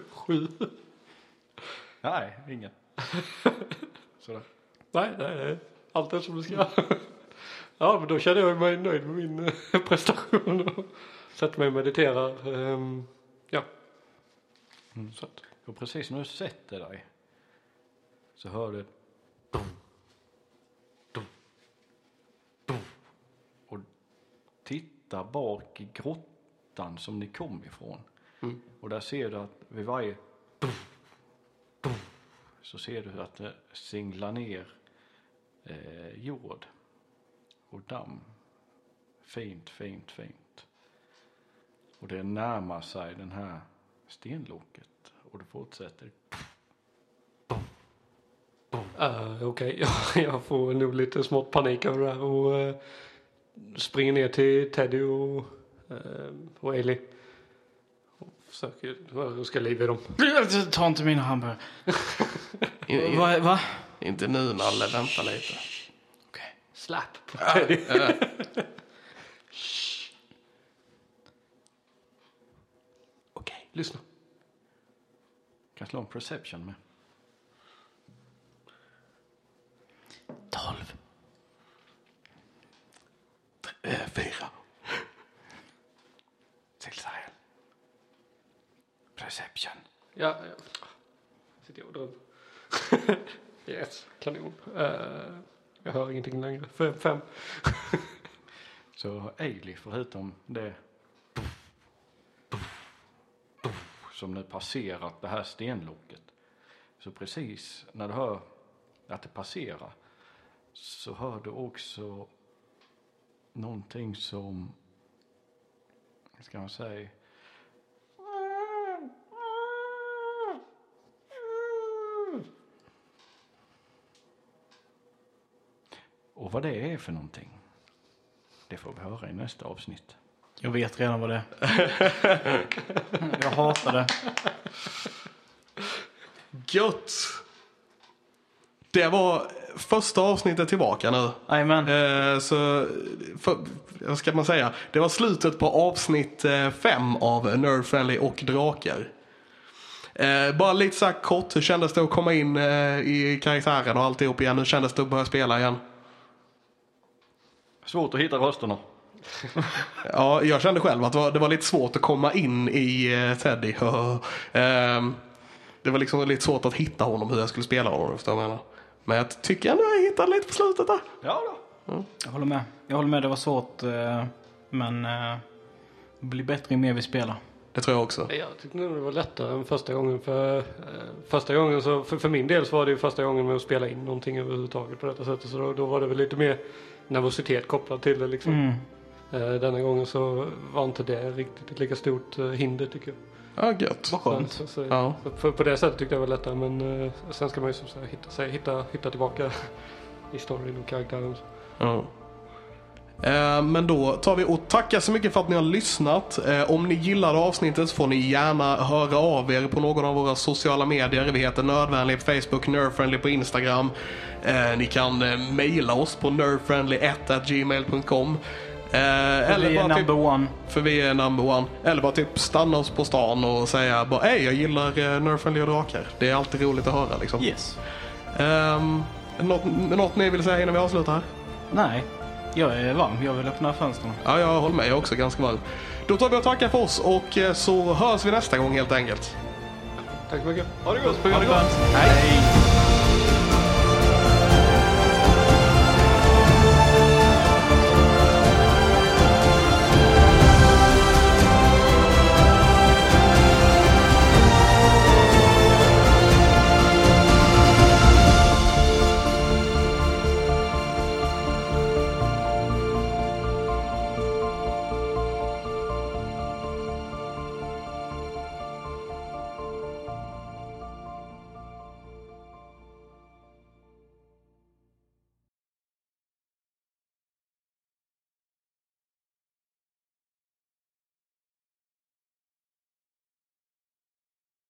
S4: (laughs) Sju.
S3: Nej, ingen.
S4: (laughs)
S3: Sådär.
S4: Nej, nej, nej. Allt är som det ska. ja, men då känner jag mig nöjd med min eh, prestation och sätter mig och mediterar. Ehm, ja. Så att,
S3: Och precis när du sätter dig så hör du ett boom, titta bak i grottan som ni kom ifrån. Och där ser du att vid varje puff, puff, så ser du att det singlar ner eh, jord och damm. Fint, fint, fint. Och det närmar sig den här stenloket och det fortsätter.
S4: Eh, Okej, (laughs) jag, jag får nog lite smått panik över det här och eh, springer ner till Teddy och, eh, och Ailey. Och försöker ruska liv i dem.
S2: Ta inte mina hamburgare.
S1: I- i-
S2: Va? va?
S1: Inte nu Nalle, vänta lite.
S4: Slap! (laughs)
S1: Okej.
S4: Lyssna.
S3: Kan slå en perception med.
S1: 12. Tre, fyra.
S3: Till Sahel. Perception.
S4: Ja, ja. Sitter jag och drömmer. (laughs) yes, kanon. Eh, jag hör ingenting längre. Fem. fem.
S3: Så Ailey, förutom det puff, puff, puff, som nu passerat det här stenlocket. Så precis när du hör att det passerar så hör du också någonting som, vad ska man säga, och vad det är för någonting. Det får vi höra i nästa avsnitt.
S2: Jag vet redan vad det är. Jag hatar det.
S1: Gött! Det var första avsnittet tillbaka nu.
S2: Jajamän.
S1: Eh, Så, för, vad ska man säga? Det var slutet på avsnitt 5 av Nerd Friendly och Drakar. Eh, Bara lite så här kort, hur kändes det att komma in eh, i karaktären och alltihop igen? Hur kändes det att börja spela igen?
S3: Svårt att hitta rösterna.
S1: Ja, jag kände själv att det var, det var lite svårt att komma in i eh, Teddy. (laughs) Ehm, det var liksom lite svårt att hitta honom, hur jag skulle spela honom. Förstår du vad jag menar? Men jag tycker ändå jag hittade lite på slutet där.
S3: Ja då.
S2: Jag håller med. Jag håller med, det var svårt. eh, Men eh, det blir bättre ju mer vi spelar.
S1: Det tror jag också.
S4: Jag tyckte nog det var lättare än första gången. För, eh, första gången så, för, för min del så var det ju första gången med att spela in någonting överhuvudtaget på detta sättet. Så då, då var det väl lite mer nervositet kopplad till det liksom.
S2: Mm.
S4: Eh, denna gången så var inte det riktigt ett lika stort eh, hinder tycker jag.
S1: Ja, gött.
S2: Skönt.
S4: Så, så, så,
S1: Ja.
S4: så, för, på det sättet tyckte jag det var lättare. Men eh, sen ska man ju som sagt hitta, sig, hitta, hitta tillbaka i storyn och karaktären.
S1: Ja. Eh, Men då tar vi och tackar så mycket för att ni har lyssnat. Eh, Om ni gillade avsnittet så får ni gärna höra av er på någon av våra sociala medier. Vi heter Nördvänlig på Facebook, Nerdfriendly på Instagram. Eh, Ni kan eh, mejla oss på nerdfriendly1gmail.com. Eh, Eller
S2: Vi är
S1: bara typ,
S2: number one.
S1: för vi är number one. Eller bara typ stanna oss på stan och säga bara hej jag gillar eh, Nerdfriendly och drakar. Det är alltid roligt att höra liksom.
S2: Yes.
S1: Ehm, något, något ni vill säga innan vi avslutar?
S2: Nej, jag är varm. Jag vill öppna fönstren.
S1: Ja, jag håller med. Jag är också ganska varm. Då tar vi och tackar för oss och eh, så hörs vi nästa gång helt enkelt.
S4: Tack så mycket.
S1: Ha det gott! Hej!